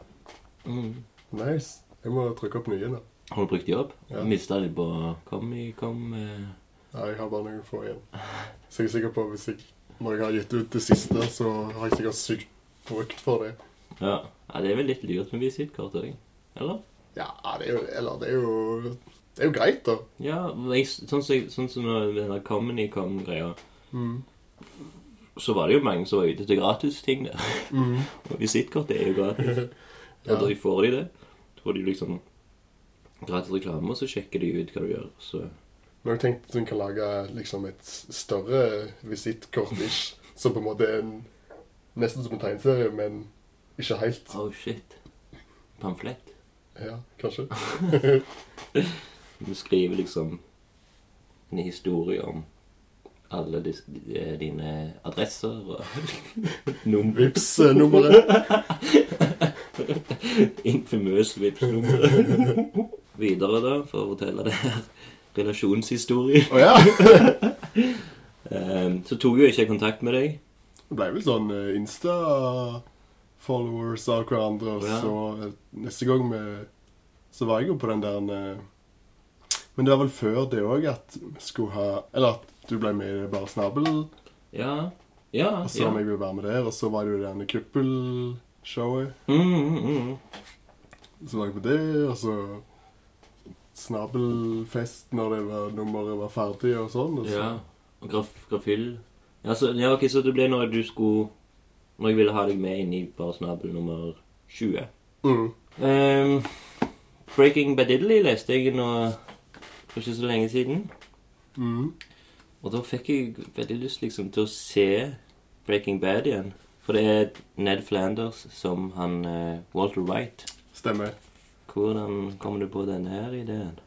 Mm.
Nice. Jeg må trykke opp nye nå.
Har du brukt det opp?
Ja.
Mista det på Comic-Con? eh,
Ja, jeg har bare noen få igjen. Så jeg er sikker på at hvis jeg, når jeg har gitt ut det siste, så har jeg sikkert sykt brukt for det.
Ja. ja, det er vel litt lurt med visittkort òg. Eller?
Ja, det er jo, eller det er jo, det er jo greit da.
Ja, men jeg, sånn som sånn som med den der Comedy-com-greia,
Mm.
så var det jo mange som var ute etter gratisting der.
Mm.
Og visittkortet er jo gratis.
Ja.
Og da får de det. Da får de liksom gratis reklame, og så sjekker de ut hva du gjør. Så
Men jeg tenkte at hun kan lage liksom et større visitkort-ish, som på en måte er en, nesten som en tegneserie, men ikke helt.
Oh shit. Pamflett.
Ja, kanskje.
Du skriver liksom en historie om alle dis- eh, dine adresser og nummer.
Vips eh, nummeret.
Infamøs Vipps-nummer. Videre, da, for å fortelle det her relasjonshistorien,
Å ja!
Ehm, så tok jo ikke jeg kontakt med deg.
Det ble vel sånn eh, Insta-followers av hverandre, og
Ja.
så eh, neste gang vi, så var jeg jo på den der eh, Men det var vel før det òg at vi skulle ha Eller at du ble med i Bare snabel, og
Ja. Ja.
så
ja.
om jeg ville være med der, og så var det jo det der kuppelshowet.
Mm, mm, mm.
Så var jeg på det, og så Snabelfest når det var, nummeret var ferdig og sånn. Og så,
ja. Og graf, grafyll. Ja, så, ja, ok, så det ble når du skulle Når jeg ville ha deg med inn i Bare snabel nummer 20.
Mm.
Ehm, Breaking Badiddly leste jeg nå for ikke så lenge siden.
Mm.
Og da fikk jeg veldig lyst liksom til å se Breaking Bad igjen. For det er Ned Flanders som han eh, Walter White.
Stemmer.
Hvordan kommer du på denne her ideen?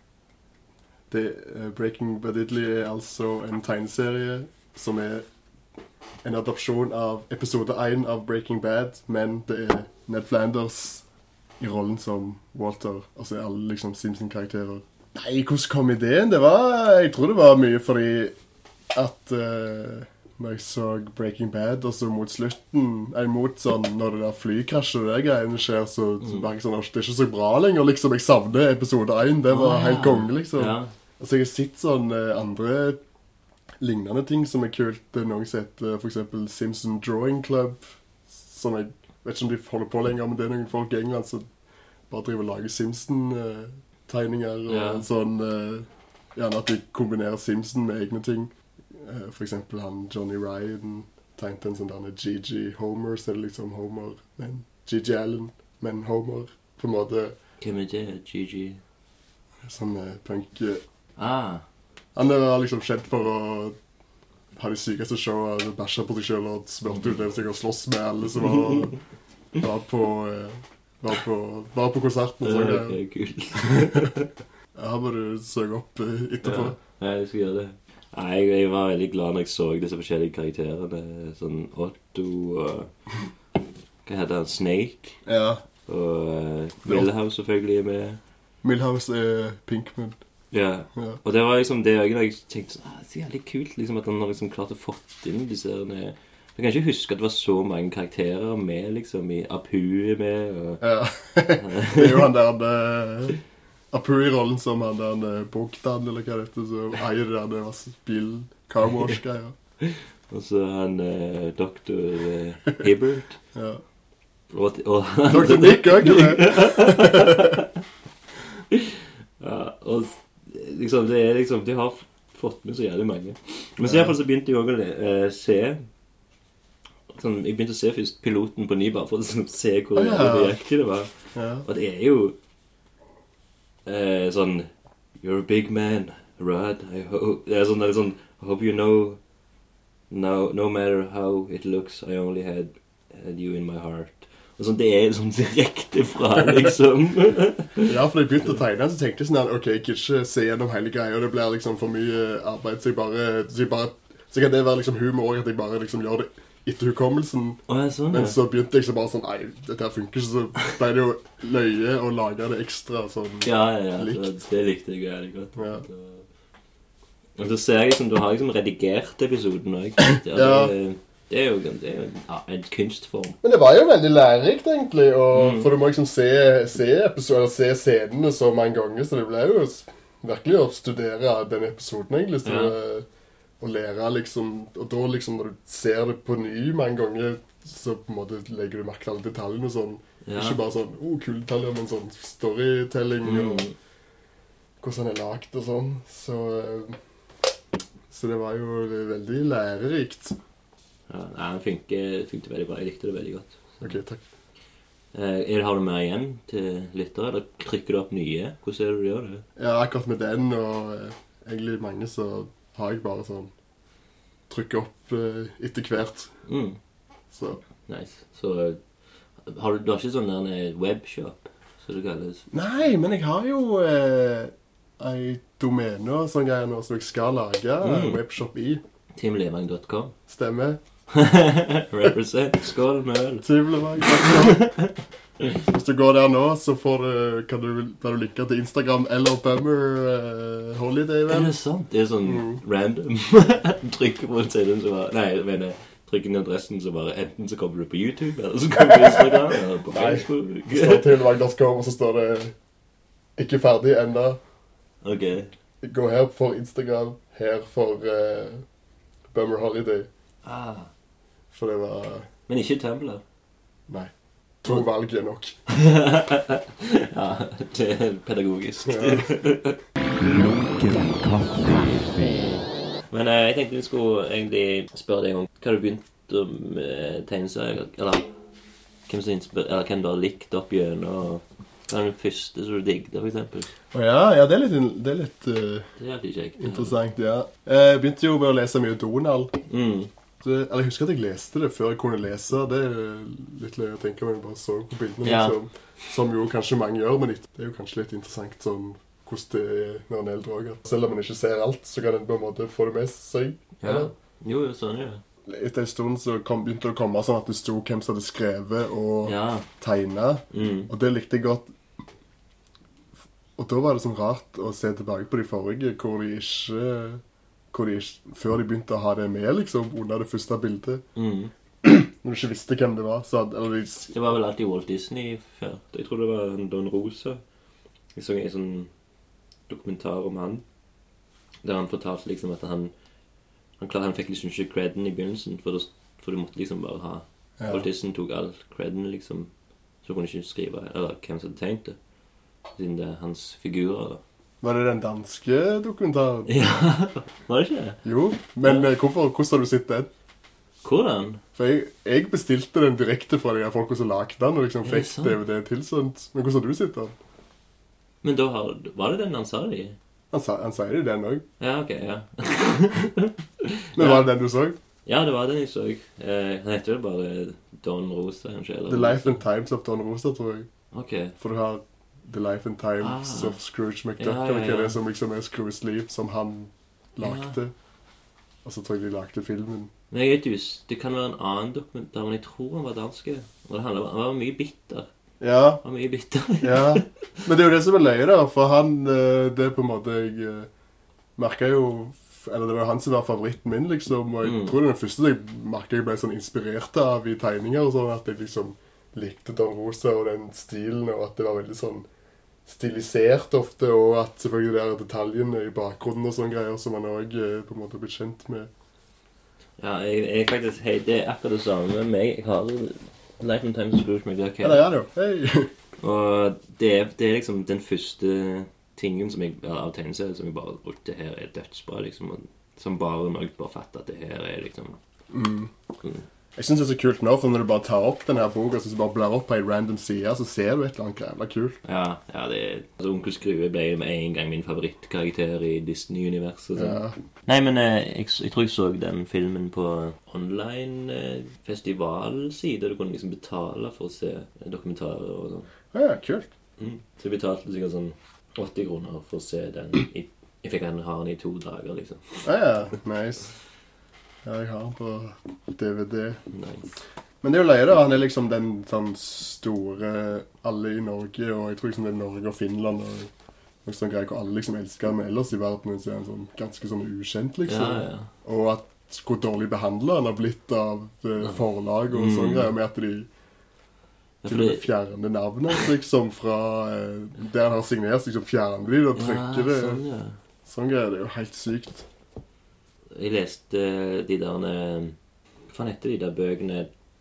Det, eh, Breaking Bad Italy er altså en tegneserie som er en adopsjon av episode 1 av Breaking Bad, men det er Ned Flanders i rollen som Walter, altså alle liksom Simpson-karakterer. Nei, hvordan kom ideen? Det var, jeg tror det var mye fordi at eh, når jeg så Breaking Bad, og så mot slutten, nei, mot sånn, når det der flykrasjet og det der greiene skjer, så, så var jeg sånn, «Åh, det er ikke så bra lenger, liksom, jeg savner episode 1, det var helt konge, liksom.
Ja.
Altså, jeg har sett sånn eh, andre lignende ting som er kult. eh, Det er noen som heter for eksempel Simpson Drawing Club, som jeg vet ikke om de holder på lenger, men det er noen folk i England som bare driver og lager Simpson-tegninger og
Ja.
sånn. eh, gjerne at de kombinerer Simpson med egne ting. Eh, for eksempel han Johnny Ryan tegnet en sånn derne GG Homer, så er det liksom Homer, men GG Allen, men Homer. På en måte
Hvem er det? GG?
sånn eh, punk... eh,
Ah.
han var liksom kjent for å ha de sykeste showene, altså bæsja på seg sjøl og smurte ut det seg og slåss med alle som var, var på eh, var på, var på konserten.
Det
Så
er
det,
kult.
her må du søke opp eh, etterpå.
Ja, jeg skal gjøre det. Nei, jeg, jeg var veldig glad når jeg så disse forskjellige karakterene. Sånn Otto og Hva heter han? Snake.
Ja.
Og uh, Milhouse selvfølgelig er med.
Milhouse er Pinkman.
Ja.
Ja.
Og det var liksom det øyet jeg tenkte sånn, ah, Det er jævlig kult liksom, at han har liksom klart å fått inn disse her eh, Jeg kan ikke huske at det var så mange karakterer med, liksom. i Apu er med, og
ja. det er jo han der eh, Apuri-rollen som han der eh, Bogdan, eller hva det heter, som eier det der masse bil, carwash-greier.
Og så han eh, doktor eh, Hibbert.
Ja.
Og, og,
Dr. Nick òg.
ja, og liksom, det er liksom De har f- fått med så jævlig mange. Men så i hvert fall så begynte jeg òg å eh, se sånn, Jeg begynte å se først piloten på ny, bare for å sånn, se hvor
Å, ja.
jævlig reaktig det var.
Ja.
Og det er jo eh, sånn You're a big man, Rod. I ho det er sånn, det er sånn I hope you know no, no matter how it looks, I only had, had you in my heart. Og sånn, Det er sånn direkte fra, liksom.
Ja, for da jeg begynte å tegne, så tenkte jeg sånn at ok, jeg kan ikke se gjennom hele greia, det blir liksom for mye arbeid, så jeg bare Så, jeg bare, så kan det være liksom humor òg, at jeg bare liksom gjør det etter hukommelsen.
Og jeg er sånn,
Men
ja.
så begynte jeg så bare sånn Nei, dette her funker ikke, så ble det jo løye å lage det ekstra sånn.
ja, ja, ja, det,
Likt.
det likte jeg jævlig godt.
Ja.
Og så ser jeg liksom, Du har liksom redigert episoden òg. Det,
Ja.
er- det er jo, det er jo ja, en kunstform.
Men det var jo veldig lærerikt, egentlig. Og,
Mm.
For du må liksom se, se, episode, eller se scenene så mange ganger, så det ble jo s- virkelig å studere den episoden, egentlig. Så
Ja.
det- Å lære liksom Og da liksom når du ser det på ny mange ganger, så på en måte legger du merke til alle detaljene og sånn.
Ja.
Ikke bare sånn oh, kule detaljer, men sånn storytelling og
Mm.
hvordan den er lagd og sånn. Så, eh, så det var jo veldig lærerikt.
Ja, nei, den funker, funker veldig bra. Jeg likte det veldig godt.
OK, takk.
Eh, er det- har du mer igjen til lyttere, eller trykker du opp nye? Hvordan er det du gjør det?
Ja, akkurat med den og eh, egentlig mange så har jeg bare sånn Trykke opp eh, etter hvert.
Mm,
Så
nice. Så eh, har du, du har ikke sånn der en webshop, som det kalles?
Nei, men jeg har jo eh, ei domene og sånn greier nå som jeg skal lage
Mm.
webshop i.
Teamlevang.com.
Stemmer.
Represent. Skål med øl.
Tvivler jeg. Hvis du går der nå, så får du, kan du, blir du linka til Instagram eller Bummer eh, Holiday,
Er
vel?
det sant? Det er sånn
Mm.
random. trykker på CD-en som bare Nei, jeg mener trykker ned adressen så bare Enten så kommer du på YouTube, eller så kommer du på Instagram, eller på
Nei. Det
Facebook.
står tvivlvang.com, og så står det 'ikke ferdig ennå'.
ok.
Gå her for Instagram, her for eh, Bummer Holiday.
Ah.
For det var
Men ikke Tumblr.
Nei. To valg er nok.
Ja, det er pedagogisk.
Ja.
Men eh, jeg tenkte vi skulle egentlig spørre deg om hva du begynte med tegneserier Eller hvem som inspir- Eller hvem du har likt opp gjennom Hva er den første som du digget, for eksempel?
Å ja, ja, det er litt, det er litt eh,
Det er alltid kjekt.
interessant, ja. Jeg begynte jo med å lese mye Donald.
Mm.
Det, eller jeg husker at jeg leste det før jeg kunne lese. Det er litt løye å tenke men jeg bare så på bildene,
Ja.
liksom. Som jo kanskje mange gjør, men det er jo kanskje litt interessant sånn hvordan det er når en er eldre òg. Selv om en ikke ser alt, så kan en på en måte få det med seg.
Ja.
eller?
Jo, jo, sånn, ja.
Etter en stund så kom, begynte det å komme sånn at det sto hvem som hadde skrevet og
Ja.
tegna.
Mm.
Og det likte jeg godt. Og da var det sånn rart å se tilbake på de forrige, hvor de ikke, hvor de ikke Før de begynte å ha det med, liksom, under det første bildet.
Mm.
Når du ikke visste hvem det var. Så hadde, eller de, s-
Det var vel alltid Walt Disney før. Jeg tror det var en Don Rosa. Jeg så en sånn dokumentar om han. Der han fortalte liksom at han Han, klar, han fikk liksom ikke creden i begynnelsen, for, det, for du måtte liksom bare ha
Ja.
Walt Disney tok all creden, liksom. Så du kunne ikke skrive Eller hvem som hadde tegnet det. Siden det er hans figurer, da.
Var det den danske dokumentaren?
Ja, var det ikke det?
Jo. Men eh, hvorfor, hvordan har du sett den?
Hvordan?
For jeg, jeg bestilte den direkte fra de der folka som lagde den, og liksom
Er det
fikk
sant?
DVD tilsendt. Men hvordan har du sett den?
Men da har Var det den han sa det i?
Han, sa- han sier det i den òg.
Ja, ok, ja.
Men
Ja.
var det den du så?
Ja, det var den jeg så. Eh, han heter vel bare Don Rosa, kanskje? Eller?
The Life and Times of Don Rosa, tror jeg.
Ok.
For du har The Life and Times
Ah.
of Scrooge McDuck,
Ja, ja,
eller hva det
ja.
er som liksom er Scrooge's liv, som han lagde. Og så tror jeg de lagde filmen.
Men jeg vet ikke, det kan være en annen dokumentar, men jeg tror han var dansk. Og det handler om, han var mye bitter.
Ja,
Han var mye bitter.
ja. Men det er jo det som er løye, da, for han eh, Det er på en måte Jeg eh, merket jo Eller det var jo han som var favoritten min, liksom. Og jeg
Mm.
tror det er den første jeg merka jeg ble sånn inspirert av i tegninger og sånn, at jeg liksom likte Don Rosa og den stilen, og at det var veldig sånn stilisert ofte, og at selvfølgelig det er detaljene i bakgrunnen og sånne greier som man òg på en måte har blitt kjent med.
Ja, jeg, jeg er faktisk hei, Det er akkurat det samme med meg. Jeg har Life and Times of Scrooge
Ja,
McDuck.
det er det jo. Hei!
Og det er, det er liksom den første tingen som jeg, eller, av tegneserier som jeg bare Å, det her er dødsbra, liksom. Og, som bare når jeg bare fatter at det her er liksom
Jeg syns det er så kult nå, for når du bare tar opp denne boka, så bare blar opp på ei random side, så ser du et eller annet jævla kult.
Ja, ja det er altså, Onkel Skrue ble med en gang min favorittkarakter i Disney-universet. sånn.
Ja.
Nei, men eh, jeg, jeg tror jeg så den filmen på online-festivalside. eh, Du kunne liksom betale for å se dokumentarer og sånn.
ja, kult.
Mm. Så jeg betalte sikkert sånn 80 kroner for å se den. I, jeg fikk den ha den i to dager, liksom.
Ja, ja, nice. Ja, jeg har den på DVD.
Nice.
Men det er jo løye, da. Han er liksom den sånn store Alle i Norge, og jeg tror liksom det er Norge og Finland og noe sånn greier hvor alle liksom elsker han, men ellers i verden er han sånn ganske sånn ukjent,
Ja,
liksom.
ja.
Og at hvor dårlig behandla han har blitt av eh, forlag og sånne
Mm.
greier, med at de
Ja,
til og med fjerne navnet hans, liksom, fra eh, der han har signert, liksom fjerner de det og trykker det.
ja, sånn, ja.
Sånn greier, det er jo helt sykt.
Jeg leste de der eh, Hva faen heter de der bøkene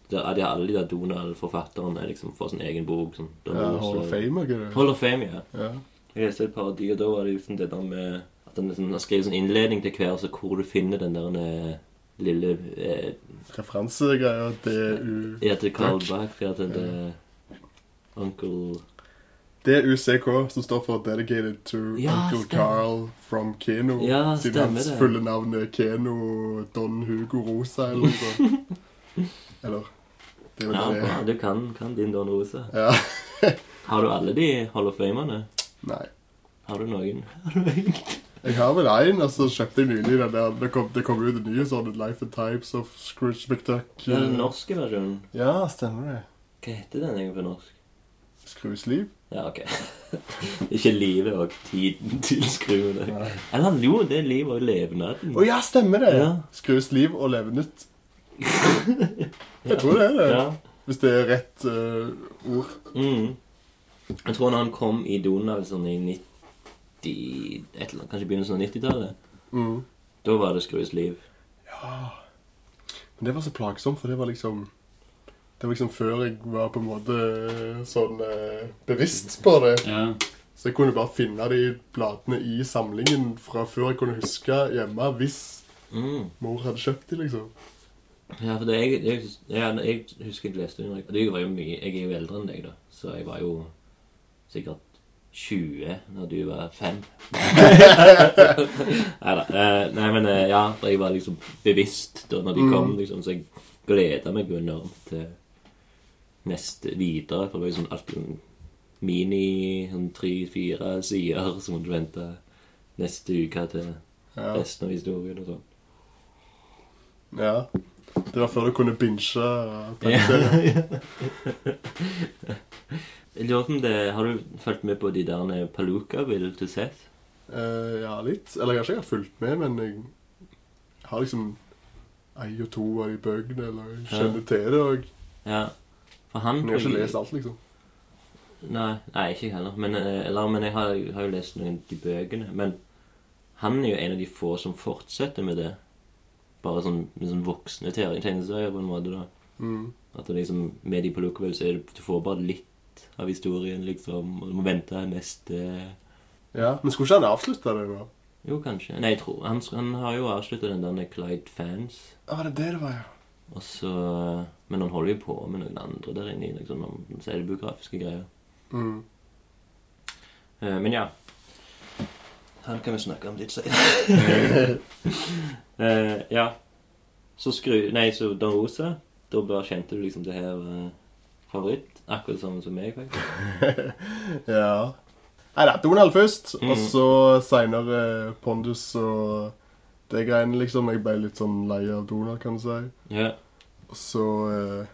der, De alle de der Donald-forfatterne liksom får sin egen bok. Sånn,
Ja, Hall of Fame, ikke det?
Hall of Fame, ja.
Ja.
Jeg leste et par av de, og da var det liksom det der med At han liksom har skrevet sånn innledning til hver, så hvor du finner den der eh, lille eh,
Referansegreier, DU
Ja, til Carl
Takk.
Bach, ja, til det eh, Uncle
DUCK, som står for Dedicated to
Ja,
Uncle
stemmer.
Carl from Keno.
Ja,
siden
stemmer
hans
det.
fulle navn er Keno Don Hugo Rosa, eller noe sånt. eller Det er vel
Ja,
det det
bra,
er.
du kan, kan din Don Rosa.
Ja.
Har du alle de Hall of Famerne?
Nei.
Har du noen? Har du ingen?
Jeg har vel én, og så kjøpte jeg nylig den der. Det kom, det kom ut en ny sånn Life and Times of Scrooge McDuck. eh,
Det er den norske versjonen.
Ja, stemmer det.
Hva heter den egentlig på norsk?
Skrusliv?
Ja, ok. Ikke livet og tiden til skruene.
Nei.
Eller jo, det er livet og levnaden.
Å ja, stemmer det!
Mm. Ja.
Skrus liv og leve nytt. Jeg tror det er det.
Ja.
Hvis det er rett eh, ord.
Mm. Jeg tror når han kom i Donald sånn i 90... Et eller annet, kanskje begynnelsen av 90-tallet.
Mm.
Da var det Skrues liv.
Men det var så plagsomt, for det var liksom Det var liksom før jeg var på en måte sånn eh, bevisst på det.
Ja.
Så jeg kunne bare finne de bladene i samlingen fra før jeg kunne huske hjemme, hvis
Mm.
mor hadde kjøpt de, liksom.
Ja, for det, jeg, jeg, ja, jeg husker jeg leste under Du var jo mye Jeg er jo eldre enn deg, da. Så jeg var jo sikkert 20 når du var 5. nei da. eh, Nei, men eh, ja, for jeg var liksom bevisst da når de kom, liksom. Så jeg gleda meg jo enormt til neste videre. For det var jo sånn alltid en mini sånn tre-fire sider som måtte vente neste uke til
Ja.
resten av historien og sånn.
ja. Det var før du kunne eh, binche.
Ja.
tegneserier.
Jeg lurer på om det, Har du fulgt med på de der Paluca-bildene til Seth?
Eh, ja, litt. Eller kanskje jeg har fulgt med, men jeg har liksom ei og to av de bøkene, eller jeg kjenner til det òg.
Ja. For han
Men jeg har ikke lest alt, liksom.
Nei, nei ikke jeg heller. Men, eh, eller, men jeg har, har jo lest noen av de bøkene. Men han er jo en av de få som fortsetter med det. Bare sånn, med sånn voksne te- tegneserier, på en måte. da.
Mm.
At det liksom, Med de Paluca-bildene så er det, du får bare litt av historien, liksom. Og du må vente neste
Ja, Men skulle ikke han avslutte det, da?
Jo, kanskje. Nei, jeg tror Han, han har jo avslutta den der Clyde Fans.
Ja, var det det det var, ja?
Og så, men han holder jo på med noen andre der inne, liksom, om selvbiografiske greier.
Mm.
Eh, men ja. Han kan vi snakke om litt senere. Eh, ja. Så skru... Nei, så Don Rosa. Da bare kjente du liksom det her eh, favoritt. Akkurat samme som meg, faktisk.
Ja. Nei da, Donald først,
Mm.
og så seinere Pondus og det greiene, liksom. Jeg ble litt sånn lei av Donald, kan du si.
Ja,
Og så eh,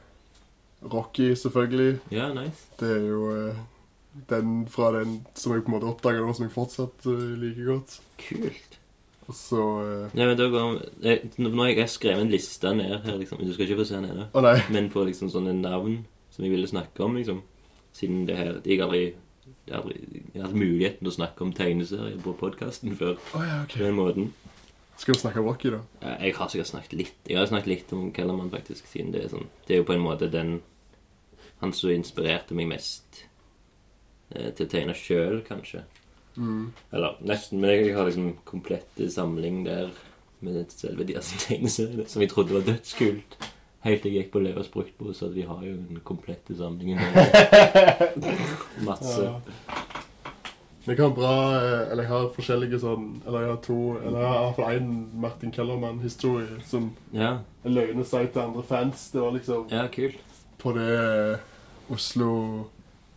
Rocky, selvfølgelig.
ja nice.
Det er jo eh, den fra den som jeg på en måte oppdaga nå, som jeg fortsatt eh, liker godt.
Kult.
Og så eh,
Nei, men da går eh, Nå nå har jeg skrevet en liste ned her, liksom. Du skal ikke få se den ennå.
Å nei.
Men på liksom sånne navn som jeg ville snakke om, liksom. Siden det her Jeg har aldri jeg har aldri hatt muligheten til å snakke om tegneserier på podkasten før.
Å ja,
På
ok.
den måten.
Skal vi snakke Rocky, da?
Ja, Jeg har sikkert snakket litt Jeg har snakket litt om Kellerman, faktisk, siden det er sånn Det er jo på en måte den Han som inspirerte meg mest eh, til å tegne sjøl, kanskje. Eller nesten. Men jeg har liksom komplette samling der med det selve deres tegneseriene, som jeg trodde var dødskult. Helt til jeg gikk på Leos bruktpose, at vi har jo den komplette samlingen. nå. Masse.
Jeg har bra, eh, eller jeg har forskjellige sånn Eller jeg har to Eller jeg har iallfall én Martin Kellermann-historie som
Ja,
jeg løgne seg til andre fans. Det var liksom
ja kult.
På det eh, Oslo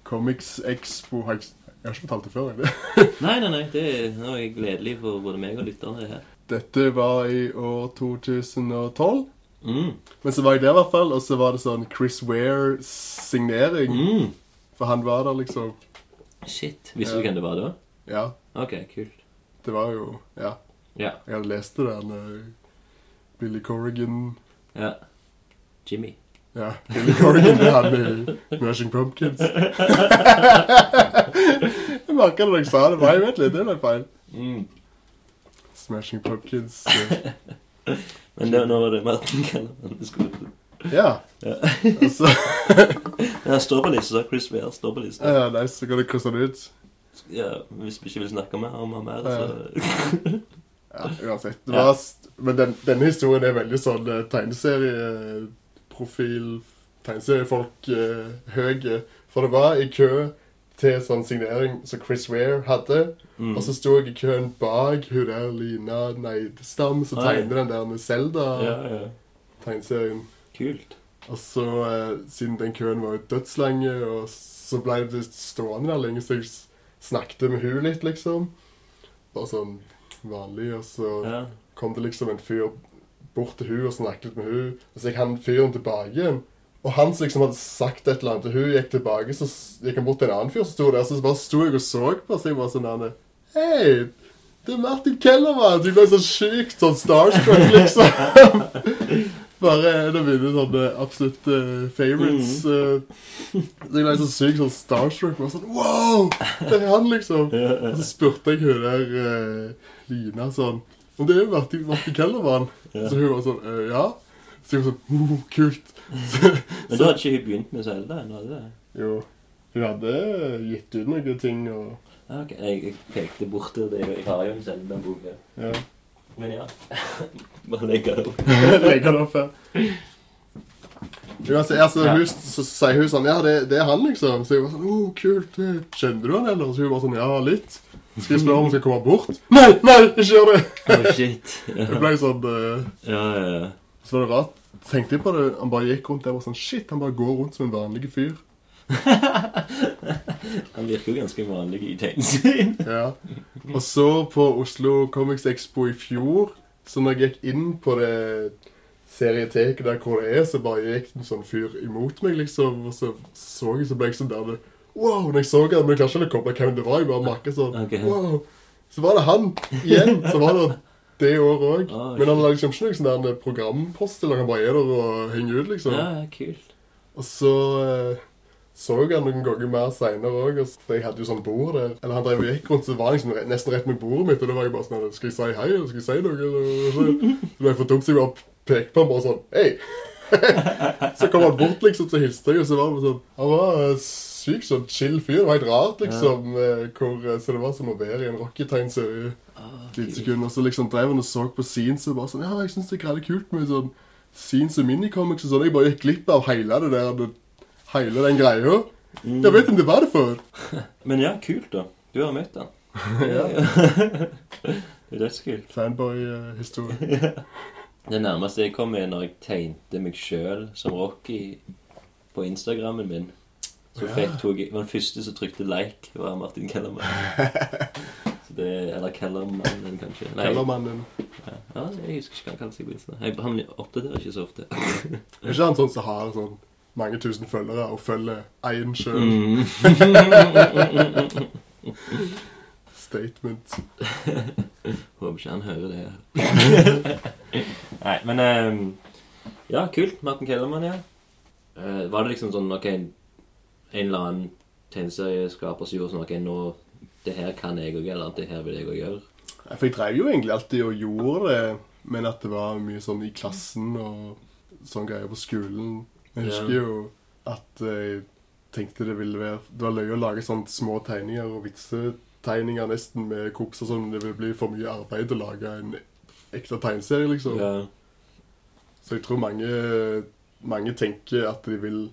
Comics Expo har jeg, jeg har ikke fortalt det før. Jeg.
Nei, nei, nei. Det er nå er jeg gledelig for både meg og lytterne her.
Dette var i år 2012.
Mm.
Men så var jeg der, i hvert fall. Og så var det sånn Chris Ware-signering.
Mm.
For han var der, liksom.
Shit. Visste
Ja.
du hvem det var da?
Ja.
Ok, kult.
Det var jo Ja.
Ja.
Jeg hadde lest det der når Billy Corrigan
ja. Jimmy.
Ja, Billy Corrigan det er han i Smashing Pumpkins. jeg merka det da jeg sa det. Nei, vent litt, det ble feil. Mm. Smashing Pumpkins. eh,
Men det, nå var det Martin Kellerman. du skulle-
Ja.
Ja.
Og så
Han står på lista. Chris Ware står på lista.
ja, Nice, så kan du krysse den ut.
Ja, hvis vi ikke vil snakke mer om ham her,
Ja.
så
Ja, uansett. Det var, st- men den, denne historien er veldig sånn eh, tegneserieprofil Tegneseriefolk eh, høye. For det var i kø til sånn signering som Chris Ware hadde.
mm.
Og så sto jeg i køen bak hun der Lina Neidestam som
Oi.
tegner den der med
Ja,
Zelda-tegneserien.
ja. Kult.
Og så, eh, siden den køen var jo dødslang, og så ble det stående der lenge, så jeg s- snakket med hun litt, liksom. Bare sånn vanlig, og så
Ja.
kom det liksom en fyr bort til hun og snakket med hun, og så gikk han fyren tilbake igjen. Og han som liksom hadde sagt et eller annet til hun, gikk tilbake, så s- gikk han bort til en annen fyr som sto der, så bare sto jeg og så på, så jeg var sånn der, Hei, det er Martin Kellermann! Du ble så sykt sånn starstruck, liksom. Bare en av mine sånne absolutte favorites. eh, Så jeg ble så sykt sånn starstruck. Bare sånn Wow! Det er han, liksom. Og så spurte jeg hun der eh, Lina sånn Om det er jo Martin, Martin Kellermann? Så hun var sånn «Eh, Ja. Så jeg var sånn oh, Kult. Så,
Men da hadde ikke hun begynt med Selda ennå? hadde det?
jo. Hun hadde gitt ut noen ting og
Ja, ok. Jeg, jeg pekte bort til det. Jeg har jo en Selda-bok her.
ja.
Men ja. Bare legge det opp.
Legge det opp her. Uansett, altså,
Ja.
hun, så sier hun sånn Ja, det, det er han, liksom. Så jeg var sånn Å, kult. eh, Kjenner du han, eller? Så hun var sånn Ja, litt. Skal jeg spørre om hun skal komme bort? Nei, nei, ikke gjør det!
Oh, shit.
Jeg
Ja,
ble sånn eh,
ja, ja. ja.
Så var det rart. Tenkte jeg på det. Han bare gikk rundt der og var sånn Shit, han bare går rundt som en vanlig fyr.
Han virker jo ganske vanlig i tegneserien.
Ja. Og så på Oslo Comics Expo i fjor, så når jeg gikk inn på det serieteket der hvor det er, så bare gikk en sånn fyr imot meg, liksom. Og så så jeg, så ble jeg sånn der det- Wow! Når jeg så han, men jeg klarte ikke å koble hvem det var. Jeg bare merket sånn
Ok.
Wow! Så var det han igjen. Så var det det året òg.
Ah,
Men han hadde liksom ikke noen sånn der programpost eller han bare er der og henger ut, liksom.
Ja, ja, kult.
Og så eh, så jeg han noen ganger mer seinere òg. Jeg hadde jo sånn bord der. Eller han drev og gikk rundt, så var han liksom re- nesten rett med bordet mitt. Og da var jeg bare sånn Skal jeg si hei, eller skal jeg si noe? eller?» Og Så, så ble jeg for dum, så jeg bare pekte på ham bare sånn Hei! så kom han bort, liksom, så hilste jeg, og så var han bare sånn Han var eh, sykt sånn chill fyr. Det var helt rart, liksom. eh, Hvor, eh, så det var som å være i en rocketegnserie
Ah,
et lite
kult.
sekund, og så liksom drev han og så på scenes og bare sånn Ja, jeg syns det er greit kult med sånn scenes og minicomics og sånn. Jeg bare gikk glipp av hele det der, det, hele den greia.
Mm.
Jeg vet ikke om det var det før.
Men ja, kult, da. Du har møtt han.
Ja.
Det er dødskult.
Fanboy-historie.
Det nærmeste jeg kom, er når jeg tegnte meg sjøl som Rocky på Instagrammen min. Så
Ja.
fikk tok jeg, Den første som trykte like, var Martin Kellermann. Så det, eller Kellermannen, kanskje. Nei,
Kellermannen.
ja, jeg husker ikke hva han kaller seg på Insta. Jeg- Han oppdaterer ikke så ofte.
Er ikke han sånn som har sånn mange tusen følgere og følger én sjøl?
Mm.
Statement.
Håper ikke han hører det her. Nei, men ehm, Ja, kult. Martin Kellermann, ja. Eh, var det liksom sånn ok, en eller annen tegneserie skapes jo hos noen, og sånn, det her kan jeg òg, eller det her vil jeg òg gjøre.
Ja, For jeg drev jo egentlig alltid og gjorde det, men at det var mye sånn i klassen og sånn greier på skolen. Jeg husker
Ja.
jo at jeg tenkte det ville være Det var løye å lage sånne små tegninger og vitsetegninger nesten med kompiser som det ville bli for mye arbeid å lage en ekte tegneserie, liksom.
Ja.
Så jeg tror mange, mange tenker at de vil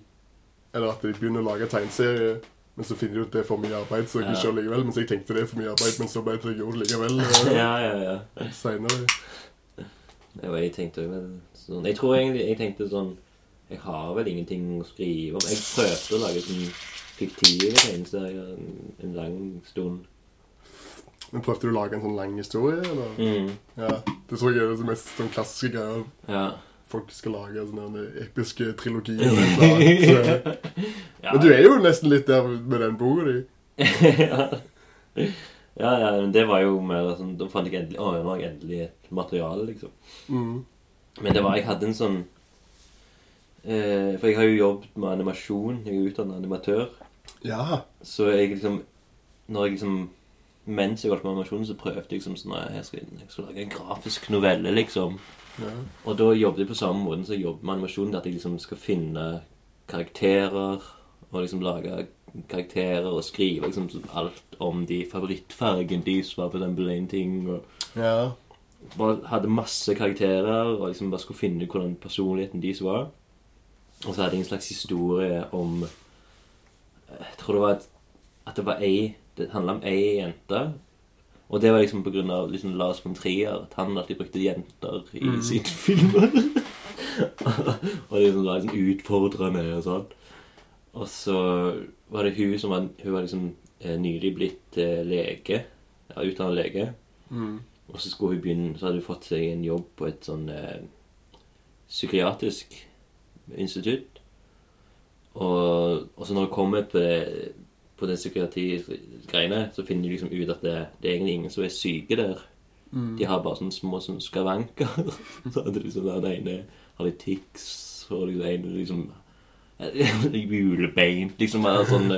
Eller at de begynner å lage tegneserie, men så finner de ut det er for mye arbeid, så jeg
Ja.
ikke gjør det likevel. Mens jeg tenkte det er for mye arbeid, men så ble det jeg gjorde det likevel
ja, ja, ja.
eh, senere.
Jo, jeg tenkte jo vel sånn Jeg tror egentlig jeg tenkte sånn Jeg har vel ingenting å skrive om. Jeg prøvde å lage sånn fiktive tegneserier en, en lang stund.
Men prøvde du å lage en sånn lang historie? Eller?
Mm.
Ja, Det tror jeg er det mest sånn klassiske greia
Ja.
folk skal lage. Sånne der episke trilogier. og et eller annet, så-
Ja.
Men du er jo nesten litt der med den boka di.
ja. ja, ja, men det var jo mer sånn Da fant jeg endelig Å, nå har jeg endelig et materiale, liksom.
Mm.
Men det var Jeg hadde en sånn eh, For jeg har jo jobbet med animasjon. Jeg er utdannet animatør.
Ja.
Så jeg liksom Når jeg liksom Mens jeg holdt på med animasjon, så prøvde jeg liksom sånn «Nei, Jeg skal, jeg skal lage en grafisk novelle, liksom.
ja.
Og da jobbet jeg på samme måten som jeg jobber med animasjon, at jeg liksom skal finne karakterer, og liksom lage karakterer og skrive liksom alt om de favorittfargen deres var på den på den ting, og
Ja.
bare hadde masse karakterer, og liksom bare skulle finne ut hvordan personligheten deres var. Og så hadde jeg en slags historie om eh, Jeg tror det var et, at det var ei Det handla om ei jente. Og det var liksom på grunn av liksom Lars von Trier, at han alltid brukte jenter i sine filmer. og liksom var liksom utfordrende og sånn. Og så var det hun som var, hun var liksom eh, nylig blitt eh, lege. Ja, utdannet lege. Og så skulle hun begynne, så hadde hun fått seg en jobb på et sånn eh, psykiatrisk institutt. Og, og så når hun kommer på, det- på den psykiatri-greiene, så finner de liksom ut at det, det er egentlig ingen som er syke der. De har bare sånne små sånne skavanker. så hadde liksom den ene har litt tics, og liksom den ene liksom Julebein. Liksom bare sånn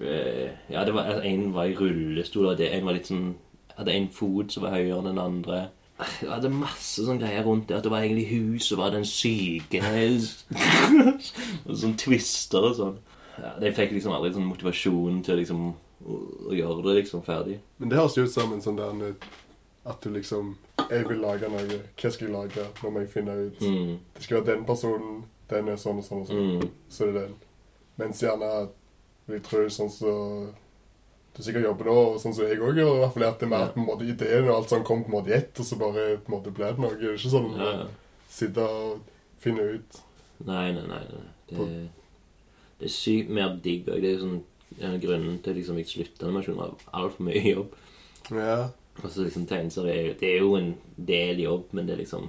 eh, Ja, det var, altså, en var i rullestol, og det, en var litt sånn Hadde en fot som var høyere enn den andre. Det hadde masse sånne greier rundt det. At det var egentlig hun som var den syke. og sånn twister og sånn. Ja, de fikk liksom aldri sånn motivasjon til liksom å, å gjøre det liksom ferdig.
Men det høres jo ut som en sånn der eh, at du liksom Jeg vil lage noe. Hva skal jeg lage? Nå må jeg finne ut.
Mm,
Det skal være den personen. Den er sånn og sånn og sånn.
mm.
Så er det den. Mens gjerne vil tro sånn som du sikkert jobber nå, og sånn som jeg òg gjør, i hvert fall er at det er mer at på en måte ideen og alt sånn kom på en måte i ett, og så bare på en måte ble det noe. Det er ikke sånn
Ja, ja.
å sitte og finne ut
Nei, nei, nei. nei. Det, det er sykt mer digg. og Det er jo sånn en av grunnen til liksom, jeg slutta animasjon. var Altfor mye jobb.
Ja.
Og så liksom tegneserier er jo Det er jo en del jobb, men det er liksom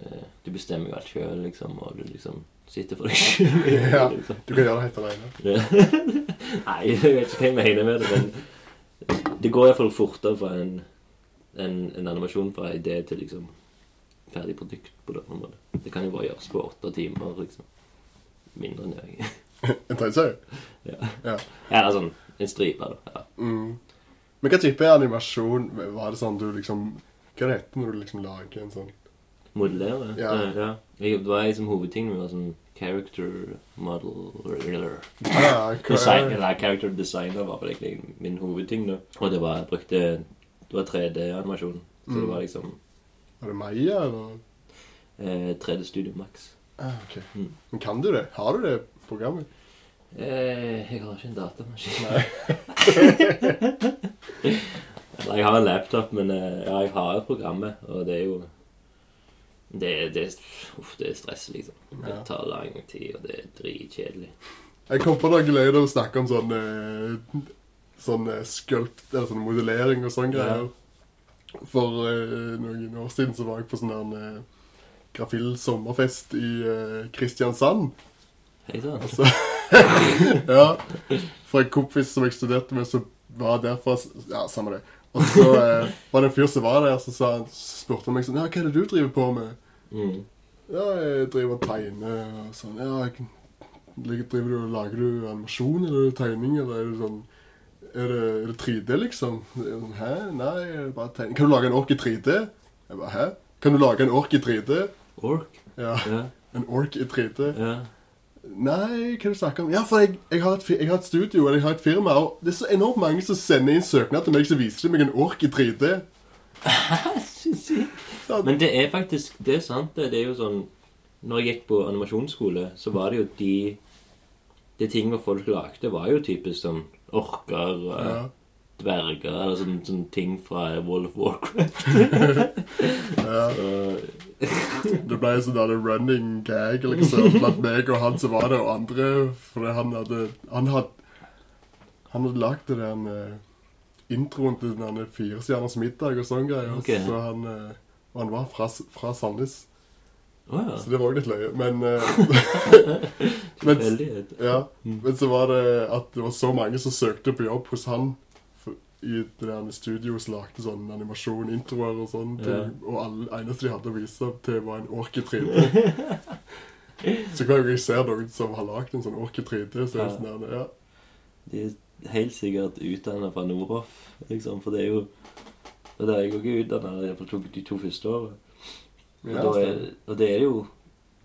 eh, Du bestemmer jo alt sjøl, liksom, og du liksom sitter for deg sjøl.
Ja.
Liksom.
Du kan gjøre det helt alene.
Det- Nei, jeg vet ikke hva jeg mener med det, men det går iallfall fortere fra en, en, en animasjon fra idé til liksom ferdig produkt på det området. Det kan jo bare gjøres på åtte timer, liksom. Mindre enn det.
En tegneserie.
Ja, eller sånn en stripe, da.
Mm. Men hva type animasjon var det sånn du liksom Hva er det heter når du liksom lager en sånn
Ja. Modellere.
Ja.
ja. Jeg- Det var liksom hovedtingen min var sånn character model eller
ah,
Design, eller character designer var vel egentlig min hovedting, da. Og det var, jeg brukte Det var 3D-animasjon. Så
Mm.
det var liksom
Var det Maya, eller?
eh, 3D Studio Max.
Ah, ok.
Mm.
Men kan du det? Har du det programmet?
Eh, jeg har ikke en datamaskin. Eller jeg har en laptop, men eh, ja, jeg har programmet, og det er jo det, det, uff, det er stress, liksom. Det
Ja.
tar lang tid, og det er dritkjedelig.
Jeg kom på noe løye da vi snakket om sånn eh, Sånn eh, sculpt, eller sånn modellering og sånne
Ja.
greier. For eh, noen år siden så var jeg på sånn der eh, Grafill sommerfest i eh, Kristiansand.
Hei sånn. sann.
Så, ja, for en kompis som jeg studerte med, som var derfra Ja, samme det. Og så eh, var det en fyr som var der, så sa han, spurte han meg sånn Ja, hva er det du driver på med?
Mm.
Ja, jeg driver og tegner og sånn. Ja, jeg Ligger- Driver du og lager du animasjon eller tegning, eller er det sånn Er det, er det 3D, liksom? Det er sånn, Hæ? Nei, er det bare tegning. Kan du lage en ork i 3D? Jeg bare, hæ? Kan du lage en ork i 3D?
Ork?
Ja,
Ja,
en ork i 3D.
ja.
Nei, hva er det du snakker om? Ja, for jeg, jeg, har et, fi- jeg har et studio, eller jeg har et firma, og det er så enormt mange som sender inn søknad til meg, så viser de meg en ork i 3D.
Så sykt.
Ja.
Men det er faktisk Det er sant, det. Det er jo sånn Når jeg gikk på animasjonsskole, så var det jo de De tingene folk lagde, var jo typisk sånn orker og
Ja.
dverger eller sånne, sånne ting fra Wall of Warcraft. Så,
Det ble en sånn der running gag liksom, blant meg og han som var der, og andre. Fordi han hadde Han hadde, han hadde lagd det den eh, introen til den der Firestjerners middag og sånn greier.
Ok.
Så han, eh, og han var fra, S- fra Sandnes,
Å ja.
så det var jo litt løye. Men eh, men,
Tilfeldighet.
ja, men så var det at det var så mange som søkte på jobb hos han. for- I det der studio som lagde sånn animasjon, introer og sånn. til-
Ja.
Og alle eneste de hadde å vise til, var en ork i 3D. så hver gang jeg ser noen som har lagd en sånn ork i 3D, så er det
Ja.
sånn der, ja.
De er helt sikkert utdanna fra Nordhoff, liksom, for det er jo Og da er jeg òg utdanna, iallfall tok de to første årene. Og,
ja
da er,
stemmer.
og det er jo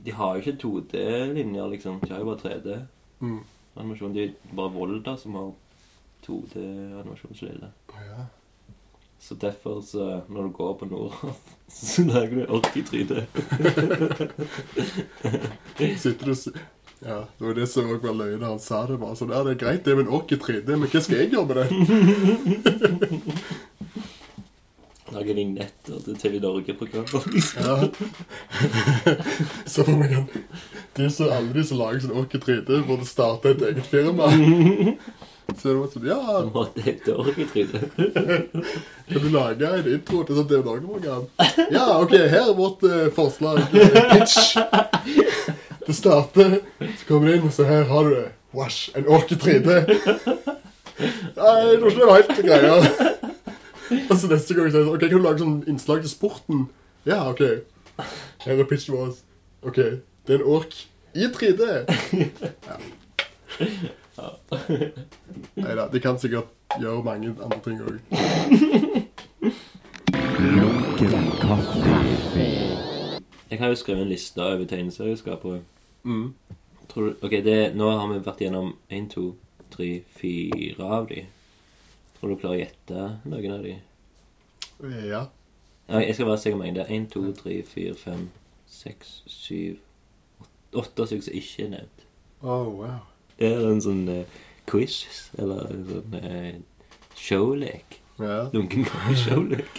De har jo ikke 2D-linjer, liksom. De har jo bare 3D-animasjon.
Mm.
Det er jo bare Volda som har 2D-animasjonslinjer.
Ja.
Så derfor, så når du går på Nordhoff, så lager du ork i 3D.
Sitter du og s- ja, Det var det som også var løye da han sa det. bare sånn, ja, Det er greit, det er med en ork i 3D, men hva skal jeg gjøre med det?
Lager vignetter til TV Norge-programmer. liksom.
Ja. så får man kan de som, Alle de som lager sånn ork i 3D, burde starte et eget firma. Så det var sånn, ja,
Som måtte hete ork i 3D.
Kan du lage en intro til sånn TV-Norge-program? Ja, OK, her er vårt eh, forslag. eh, pitch. Det starter, så kommer det inn, og så her har du det. Wash, en ork i 3D. Nei, jeg tror ikke det var helt greia. Og så neste gang så er det sånn OK, kan du lage sånn innslag til sporten? Ja, OK. Her er pitchen vår. OK, det er en ork i 3D. Ja. Nei da, de kan sikkert gjøre mange andre ting òg.
Jeg har jo skrevet en liste over tegneserier jeg skal på.
Mm.
Tror du, ok, det, Nå har vi vært gjennom én, to, tre, fire av de. Tror du klarer å gjette noen av de?
Ja.
Ja, jeg skal være sikker på en. Det er én, to, tre, fire, fem, seks, syv åt- Åtte stykker som ikke er nevnt.
Oh, wow.
Det er en sånn eh, quiz, eller en sånn eh, showlek.
Ja.
Lunken showlek.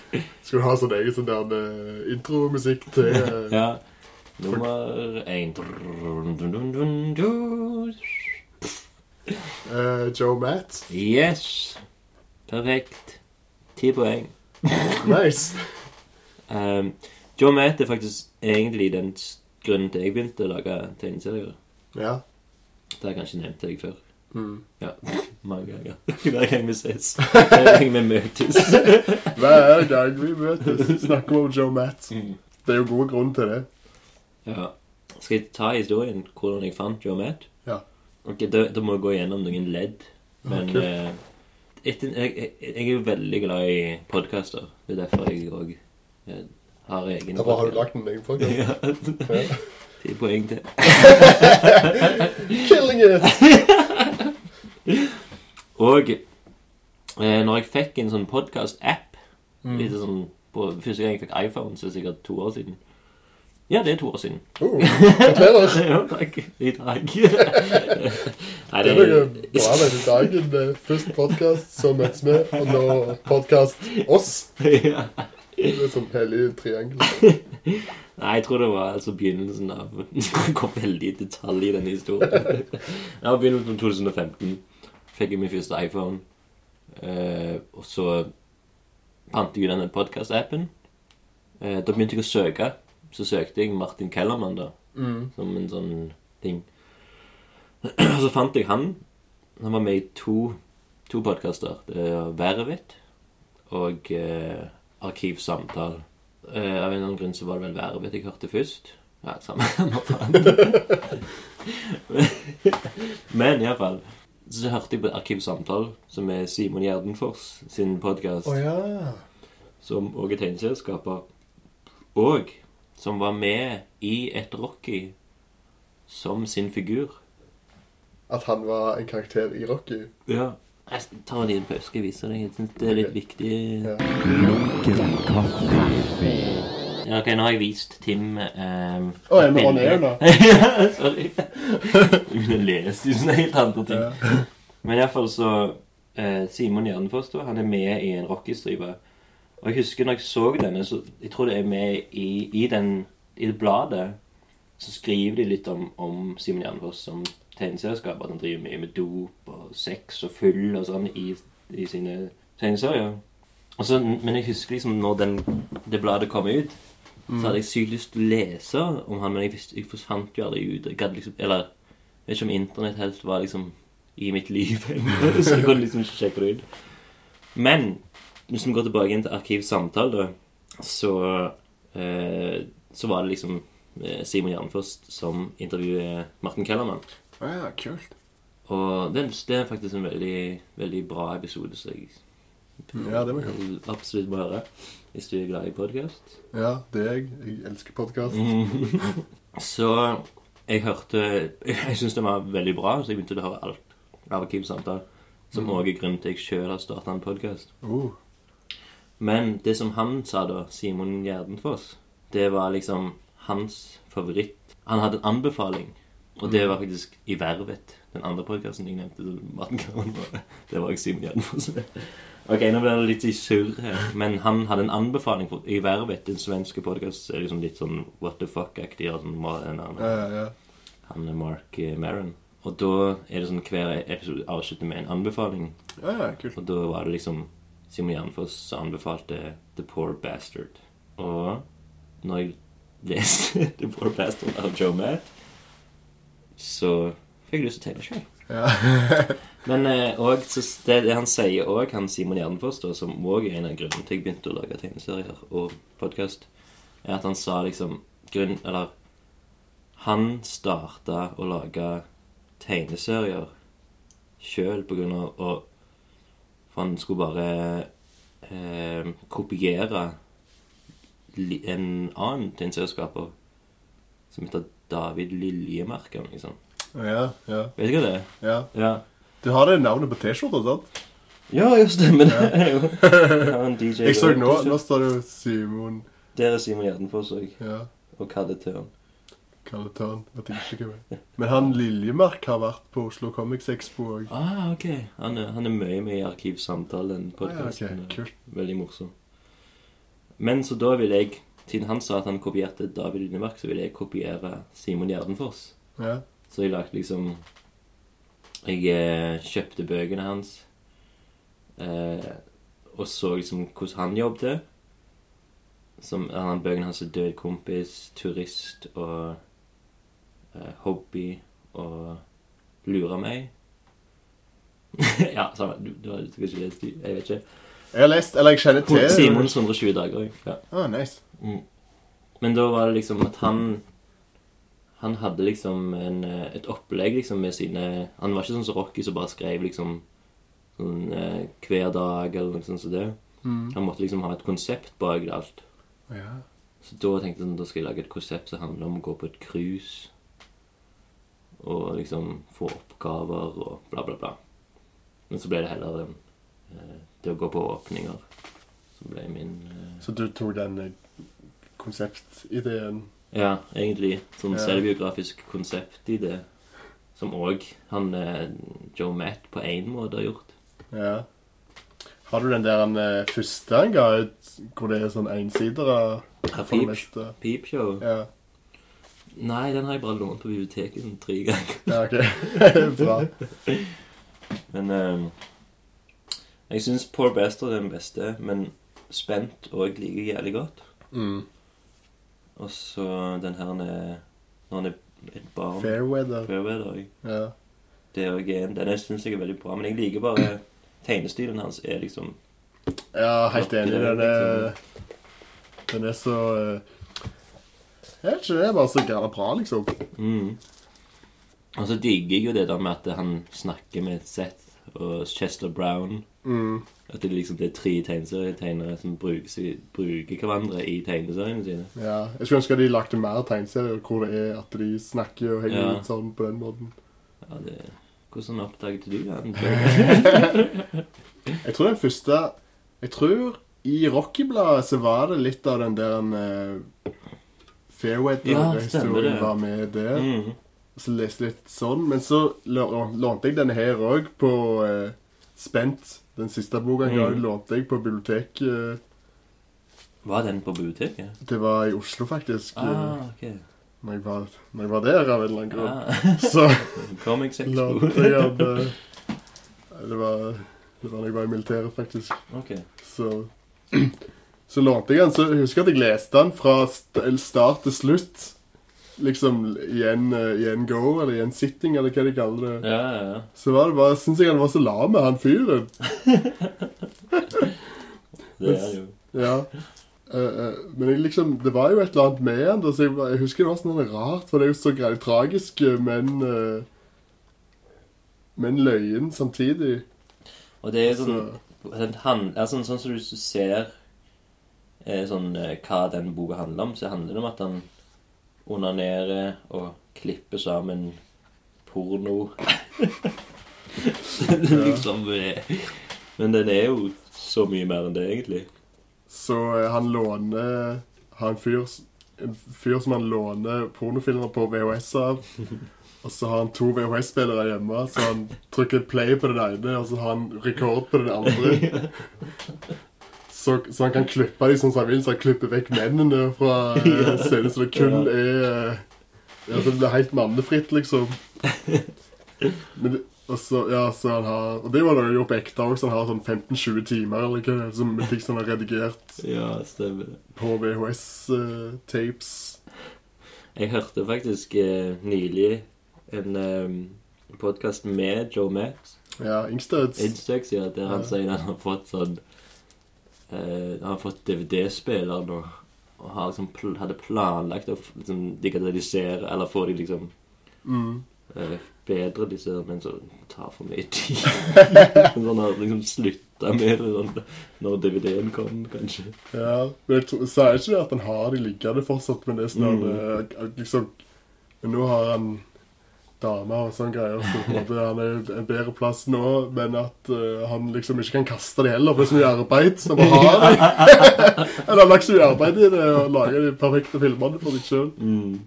Skal du ha sånn egen sånn der eh, intromusikk til eh,
Ja. Nummer én Dun, dun, dun, dun, dun.
eh, Joe Matt?
Yes! Perfekt. Ti poeng.
Nice!
Um, Joe Matt er faktisk egentlig den s- grunnen til jeg begynte å lage tegneserier.
Ja.
Det har jeg kanskje nevnt til deg før.
Mm.
Ja, Mange ganger. Hver gang vi ses. Hver gang vi møtes.
Hver gang vi møtes, snakker vi om Joe Matt.
Mm.
Det er jo god grunn til det.
Ja. Skal jeg ta historien hvordan jeg fant Joe Matt?
Ja.
Ok, Da, da må jeg gå gjennom noen ledd. Men
Ok.
eh, etter, jeg, jeg, jeg er jo veldig glad i podkaster. Det er derfor jeg òg har egen
Derfor har du
podcast.
lagt en egen podcast.
Ja. Ti poeng til.
Killing it!
Og eh, når jeg fikk en sånn podkast-app
Mm.
litt sånn, på, Første gang jeg fikk iPhone, så er det sikkert to år siden. Ja, det er to år siden.
Oh, gratulerer!
ja, takk. I dag. Nei,
Det er noe bra med den dagen. Det er Først podcast, så møtes vi, og nå podcast oss.
Ja.
Det er sånn hellig triangel.
Nei, jeg tror det var altså begynnelsen av Det går veldig i detalj i denne historien. Det var begynnelsen av 2015. Fikk jeg min første iPhone. Eh, og så fant jeg jo denne podkast-appen. Eh, da begynte jeg å søke. Så søkte jeg Martin Kellermann, da. Som en sånn ting. Og så fant jeg han. Han var med i to, to podkaster. Vervet og eh, Arkivsamtale. Eh, av en eller annen grunn så var det vel Vervet jeg hørte først. Ja, samme hva faen. Men iallfall så hørte jeg på Arkivsamtaler, som er Simon Gjerdenfors sin podkast,
Å ja.
som òg er tegneserieskaper, og som var med i et Rocky som sin figur.
At han var en karakter i Rocky.
Ja. Jeg tar en liten pause og viser deg. Jeg synes det er litt viktig.
Ja.
Ja, ok, Nå har jeg vist Tim um,
Å, er vi on air nå?
ja, sorry. Hun leser jo sånne helt andre ting. Men iallfall så eh, Simon Gjerdenfoss da, han er med i en rockestripe. Og jeg husker når jeg så denne, så jeg tror det er med i, i, den, i det bladet, så skriver de litt om, om Simon Gjerdenfoss som tegneserieskaper. At han driver mye med dop og sex og fyll og sånn i, i sine tegneserier. Og så, men jeg husker liksom når den, det bladet kom ut, så hadde jeg sykt lyst til å lese om han, men jeg, visste- jeg fant jo aldri ut. Jeg gadd liksom, eller jeg vet ikke om internett helt var liksom i mitt liv ennå, så jeg kunne liksom ikke sjekke det ut. Men hvis vi går tilbake inn til arkivsamtaler, så eh, Så var det liksom eh, Simon Jernfoss som intervjuer Martin Kellermann.
Å ja, kult.
Og det, det er faktisk en veldig, veldig bra episode, så jeg
Ja, det var kult.
absolutt må høre hvis du er glad i podkast.
Ja, det er jeg. Jeg elsker podkast.
Så jeg hørte Jeg syns det var veldig bra, så jeg begynte å høre alt av Arkivsamtaler. Som òg er grunnen til at jeg sjøl har starta en podkast.
Uh,
Men det som han sa da, Simon Gjerdenfoss, det var liksom hans favoritt. Han hadde en anbefaling, og det var faktisk i Vervet. Den andre podkasten jeg nevnte. som Martin Kavan var. Det var jeg Simon Gjerdenfoss. Ok, nå blir det litt i surr her, men han hadde en anbefaling for, i Vervet. Den svenske podkasten er liksom litt sånn what the fuck-aktig. og sånn, hva er den andre?
ja, ja, ja.
han er Mark eh, Maron. Og da er det sånn hver episode avslutter med en anbefaling.
ja, ja kult.
Og da var det liksom Simon Jernfoss som anbefalte The Poor Bastard. Og når jeg leste The Poor Bastard av Joe Matt, så fikk jeg lyst til å tegne sjøl.
Ja.
Men eh, og, så det, det han sier òg, han Simon Gjerdenfoss, da, som òg er en av grunnene til jeg begynte å lage tegneserier og podkast, er at han sa liksom grunn, Eller han starta å lage tegneserier sjøl på grunn av å For han skulle bare eh, kopiere li, en annen tegneserieskaper som heter David Liljemarken, liksom.
ja, ja,
Vet du hva det er?
ja.
Ja.
Du har det navnet på T-skjorta, sant?
Ja, jo, stemmer det. Ja. en DJ
Jeg så nå, nå står det jo Simon
Der er Simon Gjerdenfoss òg,
Ja,
og Kalle Tørn.
Kalletørn. Vet jeg ikke hvem er. Men han Liljemark har vært på Oslo Comics Expo òg.
Ah, ok. Han er, han er mye med i Arkivsamtalen. podcasten,
Ah, ok, kult.
Veldig morsom. Men så da vil jeg, siden han sa at han kopierte David Lindemark, så vil jeg kopiere Simon Gjerdenfoss.
Ja.
Så jeg lagde liksom Jeg eh, kjøpte bøkene hans eh, og så liksom hvordan han jobbet. Som han Bøkene hans er Død kompis, Turist og eh, Hobby og Lure meg. ja, samme. Du, du, har- du skal ikke lese de. Jeg vet ikke.
Jeg har lest, eller jeg kjenner til
Simons 120 dager òg. Ja.
Ah, nice.
Men da var det liksom at han Han hadde liksom en, eh, et opplegg liksom med sine Han var ikke sånn som Rocky som bare skrev liksom sånn, eh, hver dag eller noe sånt som det. Han måtte liksom ha et konsept bak det alt.
Mm. Ja.
Så da tenkte jeg sånn, da skal jeg lage et konsept som handler om å gå på et cruise. Og liksom få oppgaver og bla, bla, bla. Men så ble det heller eh, det å gå på åpninger. Så ble min eh,
Så du tok den eh, konseptideen
Ja, egentlig. Sånn
Ja.
selvbiografisk konsept i det. Som òg han eh, Joe Matt på én måte har gjort.
Ja. Har du den der han eh, første han ga ut, hvor det er sånn ensidere
Ja,
for det
Peep.
meste?
Peepshow?
Ja.
Nei, den har jeg bare lånt på biblioteket sånn tre ganger.
ja, ok. Bra.
Men eh, jeg syns Poor Bastard er den beste, men Spent òg liker jeg jævlig godt.
Mm.
Og så den her han er- når han er et barn.
Fairweather.
Fairweather. også.
Ja.
Det er også en- Den syns jeg er veldig bra, men jeg liker bare tegnestilen hans er liksom
ja, helt enig. Den er, den er så eh, Jeg vet ikke, det er bare så gærent bra, liksom.
Mm. Og så digger jeg jo det der med at han snakker med Seth og Chester Brown. At det liksom det er tre tegneserietegnere som bruker, seg- bruker hverandre i tegneseriene sine.
Ja. Jeg skulle ønske de lagde mer tegneserier hvor det er at de snakker og henger
Ja.
ut sånn på den måten.
Ja, det... Hvordan oppdaget du han?
Jeg tror den første Jeg tror i Rockybladet så var det litt av den der uh,
Ja, stemmer
Fairweather-historien
det.
var med der.
Mm.
Og så leste jeg litt sånn. Men så lå- lånte jeg denne her òg på eh, Spent. Den siste boka jeg ga,
Mm.
lånte jeg på biblioteket. eh,
Var den på biblioteket?
Det var i Oslo, faktisk. eh,
Ah, ok.
Når jeg var, når jeg var der av en eller annen grunn.
Ah,
Så
Comics Expo.
lånte jeg den eh, det, var, det var da jeg var i militæret, faktisk.
Ok.
Så, så lånte jeg den. Så jeg husker at jeg leste den fra st start til slutt. Liksom i en, eh, i en go, eller i en sitting, eller hva de kaller det.
Ja, ja, ja.
Så var det bare, syns jeg han var så lam, han fyren.
Det er jo...
Ja. Eh, eh, men jeg liksom, det var jo et eller annet med han. da, Så jeg, bare- jeg husker det var sånn rart, for det er jo så greit tragisk, eh, men eh, Men løyen samtidig.
Og det er sånn...
Så,
Den han, altså, sånn som du ser eh, sånn, eh, hva den boka handler om, så handler det om at han onanerer og klipper sammen porno. Det er liksom eh, Men den er jo så mye mer enn det, egentlig.
så eh, han låner Han fyr, en fyr som han låner pornofilmer på VHS av. Og så har han to VHS-spillere hjemme, så han trykker play på den ene, og så har han rekord på den andre. Så, så han kan klippe dem sånn som han vil, så han klipper vekk mennene fra eh, scenen, så det kun er eh, Ja, så det blir helt mannefritt, liksom. Men det, og så, ja, så han har Og det var det jo på ekte òg, så han har sånn 15-20 timer eller hva, det er, som ting som han har redigert
Ja, stemmer det.
på eh, VHS-tapes.
Jeg hørte faktisk eh, nylig en eh, podkast med Joe Max.
ja, Ingstøds.
Instex, ja, der han
Ja.
sier at han har fått sånn eh, Han har fått DVD-spiller nå. Og har liksom pl hadde planlagt å f- liksom, digitalisere eller få de liksom
Mm.
eh, bedre, disse, men så tar for mye tid. så han har liksom slutta med det sånn, når DVD-en kom, kanskje.
Ja, men jeg tror, sier ikke det at han har de liggende fortsatt, men det er sånn
Mm.
at, eh, liksom, Men nå har han damer og sånne greier, så på en måte han er jo en bedre plass nå, men at eh, han liksom ikke kan kaste det heller, for det er så mye arbeid som han har. Eller han har lagt så mye arbeid i det og laga de perfekte filmene for seg sjøl.
Mm.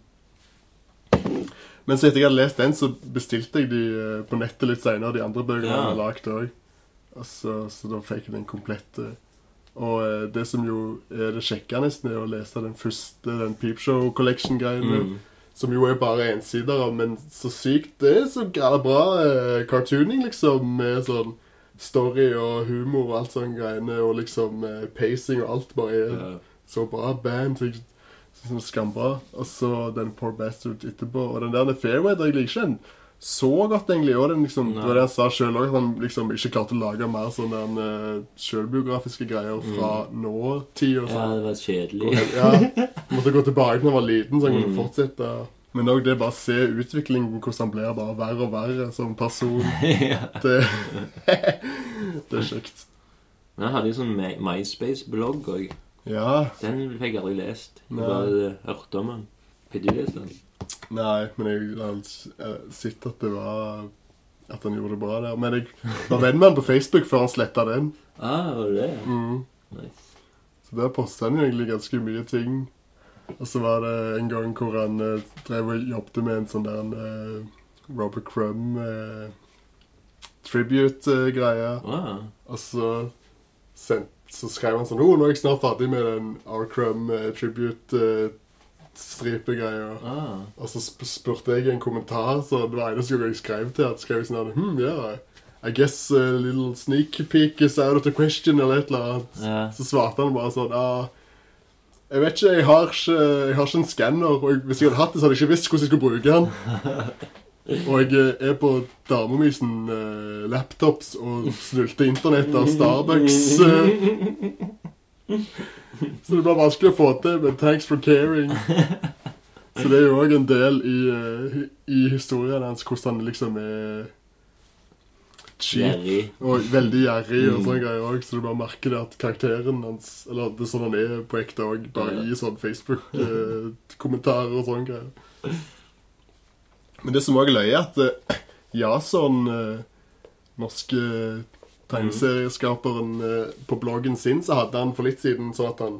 Men så etter jeg hadde lest den, så bestilte jeg de eh, på nettet litt senere, de andre bøkene
Ja.
han har lagd òg. Så, så da fikk jeg den komplette. Og eh, det som jo er det kjekke nesten, er å lese den første, den Peepshow Collection-greien.
Mm.
Som jo er bare ensider av, men så sykt det er så gæla bra eh, cartooning, liksom. Med sånn story og humor og alt sånne greiene, og liksom eh, pacing og alt bare er
Ja.
så bra band. Så jeg- sånn skambra. Og så den Poor Bastard etterpå. Og den der Fairweather jeg liker ikke den så godt, egentlig. Og den liksom, det var det han sa sjøl òg, at han liksom ikke klarte å lage mer sånne uh, sjølbiografiske greier fra nåtida.
Mm. ja,
sånn.
det var
Gå
kjedelig.
helt- Ja. Måtte gå tilbake når han var liten, så han kunne
Mm.
fortsette. Men òg det bare å se utviklingen, hvordan han blir bare verre og verre som person.
ja.
Det, det er kjekt.
Men han hadde jo sånn My- MySpace-blogg òg.
Ja.
Den fikk jeg aldri lest. Jeg
Nei.
bare eh, hørte om den. Fikk du lest den?
Nei, men jeg har eh, sett at det var At han gjorde det bra der. Men jeg var venn med han på Facebook før han sletta den.
Ah, var det det?
Mm.
Nice.
Så der posta han egentlig ganske mye ting. Og så var det en gang hvor han eh, drev og jobbet med en sånn der en, eh, Robert Crumb eh, tribute-greie.
Wow.
Og så, sendt, så skrev han sånn Å, nå er jeg snart ferdig med den R. Crumb eh, tribute-stripegreia.
Ah,
Og så sp spurte jeg i en kommentar, så det var eneste gang jeg skrev til at skrev jeg sånn hm, yeah, I guess a little sneak peek is out of the question, eller et eller annet.
ja.
Så svarte han bare sånn ah, Jeg vet ikke, jeg har ikke, jeg har ikke en skanner, og jeg- hvis jeg hadde hatt det, så hadde jeg ikke visst hvordan jeg skulle bruke den. Og jeg eh, er på dama mi sin eh, laptops og snulter internett av Starbucks. eh. Så det blir vanskelig å få til, men thanks for caring. Så det er jo òg en del i, eh, i historien hans hvordan han liksom er cheap
Jerry.
og veldig gjerrig og
Mm.
sånne greier òg, så du bare merker det at karakteren hans Eller det er sånn han er på ekte òg,
Ja.
bare i sånn Facebook-kommentarer og sånne greier. Men det som òg er løye, er at eh, Jason, eh, norske tegneserieskaperen eh, på bloggen sin, så hadde han for litt siden sånn at han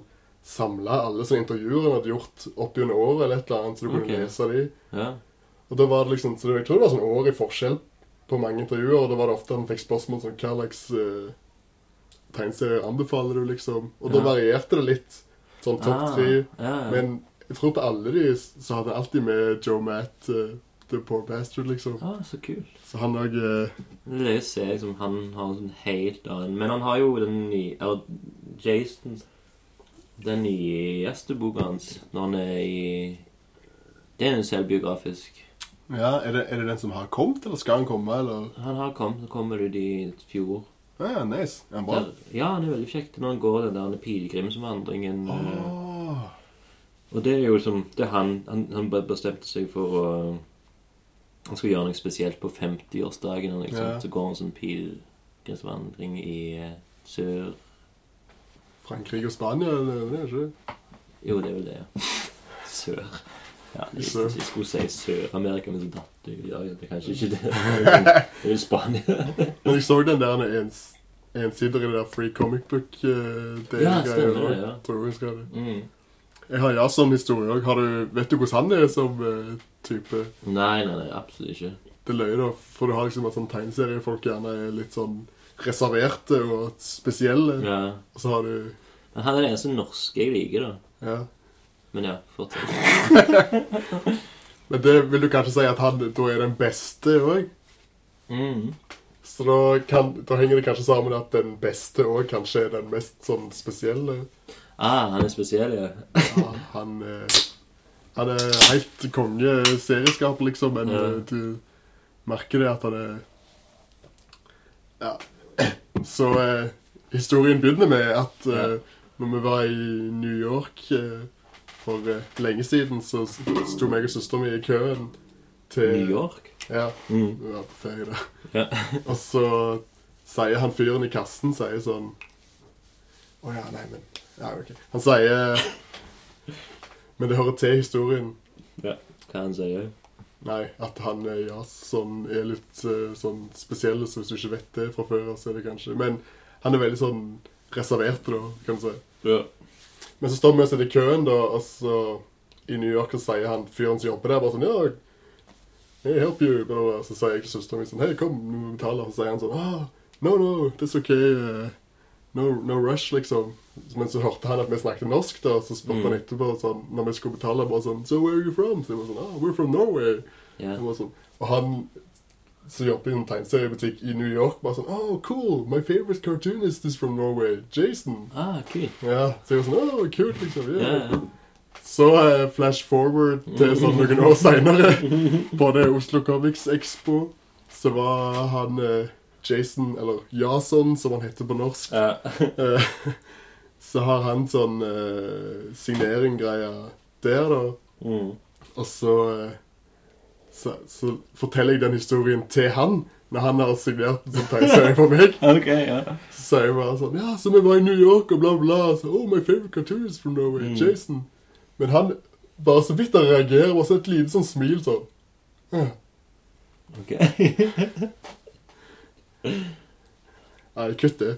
samla alle sånne intervjuer han hadde gjort opp gjennom året, eller et eller annet, så du kunne
Ok.
lese de.
Ja.
Og da var det liksom, så Jeg tror det var sånn år i forskjell på mange intervjuer. og Da var det ofte han fikk spørsmål som hva slags eh, tegneserier anbefaler du, liksom. Og da
Ja.
varierte det litt. Sånn topp
Ah,
tre.
Ja, ja.
Men jeg tror på alle de så hadde jeg alltid med Joe Matt, eh, The Poor Bastard, liksom.
Ah, så kult.
Så han eh, òg
Det er jo å se liksom, han har en sånn helt annen Men han har jo den nye Eller Jason Den nye gjesteboka hans når han er i Det er jo selvbiografisk.
Ja, er det, er det den som har kommet, eller skal han komme, eller?
Han har kommet, så kommer ut i fjor.
Ja, ja, nice. Er han bra?
Der, ja, det er veldig kjekt når han går den der pilegrimsvandringen.
Ah.
eh,
Åh.
Og det er jo som Det er han Han, han bare bestemte seg for å Han skulle gjøre noe spesielt på 50-årsdagen. og Liksom.
Ja.
Så går han sånn pilegrimsvandring i eh, sør
Frankrike og Spania, det er det ikke?
Jo, det er vel det. ja. Sør. Ja, jeg,
Sør.
jeg skulle si Sør-Amerika, men så datt jeg ut. Ja, det er kanskje ikke det. Det er jo Spania.
Men jeg så den der ens, ensider i det der Free Comic Book uh, det
Ja,
greier
stemmer det,
også.
ja.
Tror jeg husker det.
Mm.
Jeg har Jason-historie òg. Vet du hvordan han er som eh, type?
Nei, nei, nei, absolutt ikke.
Det er løye, da. For du har liksom en sånn tegneserie folk gjerne er litt sånn reserverte og spesielle.
Ja.
Og så har du
Men han er den eneste norske jeg liker, da.
Ja.
Men ja, fortsett.
Men det vil du kanskje si at han da er den beste òg?
Mm.
Så da, kan, da henger det kanskje sammen at den beste òg kanskje er den mest sånn spesielle.
Ah, han er spesiell, ja.
Ja, han, eh, han er helt konge serieskaper, liksom, men
Ja.
eh, du merker det at han er Ja. Så eh, historien begynner med at eh,
Ja.
når vi var i New York eh, for eh, lenge siden, så s- sto meg og søsteren min i køen til
New York.
Ja,
Mm.
vi var på ferie da.
Ja.
Og så sier han fyren i kassen sier sånn Å ja, nei, men Ja, OK. Han sier Men det hører til historien.
ja. Hva han sier òg.
Nei, at han eh, ja, sånn, er litt eh, sånn spesiell, så hvis du ikke vet det fra før av, så er det kanskje Men han er veldig sånn reservert, da, kan du si.
Ja.
Men så står vi og sitter i køen, da, og så i New York så sier han fyren som jobber der, bare sånn Ja, hey, help you. bla, bla, bla. Så sier jeg til søsteren min sånn Hei, kom, nå må vi betale. Og så sier han sånn ah, No, no, that's okay. eh, No, no rush, liksom. Men så hørte han at vi snakket norsk, da, så spurte han etterpå sånn, når vi skulle betale, bare sånn So where are you from? Så jeg var sånn Ah, we're from Norway.
Ja.
Han var sånn, og han som jobber i en tegneseriebutikk i New York, bare sånn Oh, cool. My favorite cartoonist is from Norway. Jason.
Ah, kult.
Ja, så jeg var sånn, åh, kult liksom
Ja,
ja.
ja.
Så eh, flash forward til sånn noen år senere På det Oslo Comics Expo Så var han eh, Jason, eller Jason som han heter på norsk
Ja.
eh, Så har han sånn eh, signering-greier der da
Mm.
og så, eh, så, så forteller jeg den historien til han Når han har signert en sånn tegneserie for meg
Ok, ja.
så sa jeg bare sånn Ja, så vi var i New York og bla, bla. Så, oh, my favorite cartoon is from Norway,
Mm.
Jason. Men han bare så vidt han reagerer, bare så et lite sånn smil sånn. Ja.
Ok.
Nei, kutt det.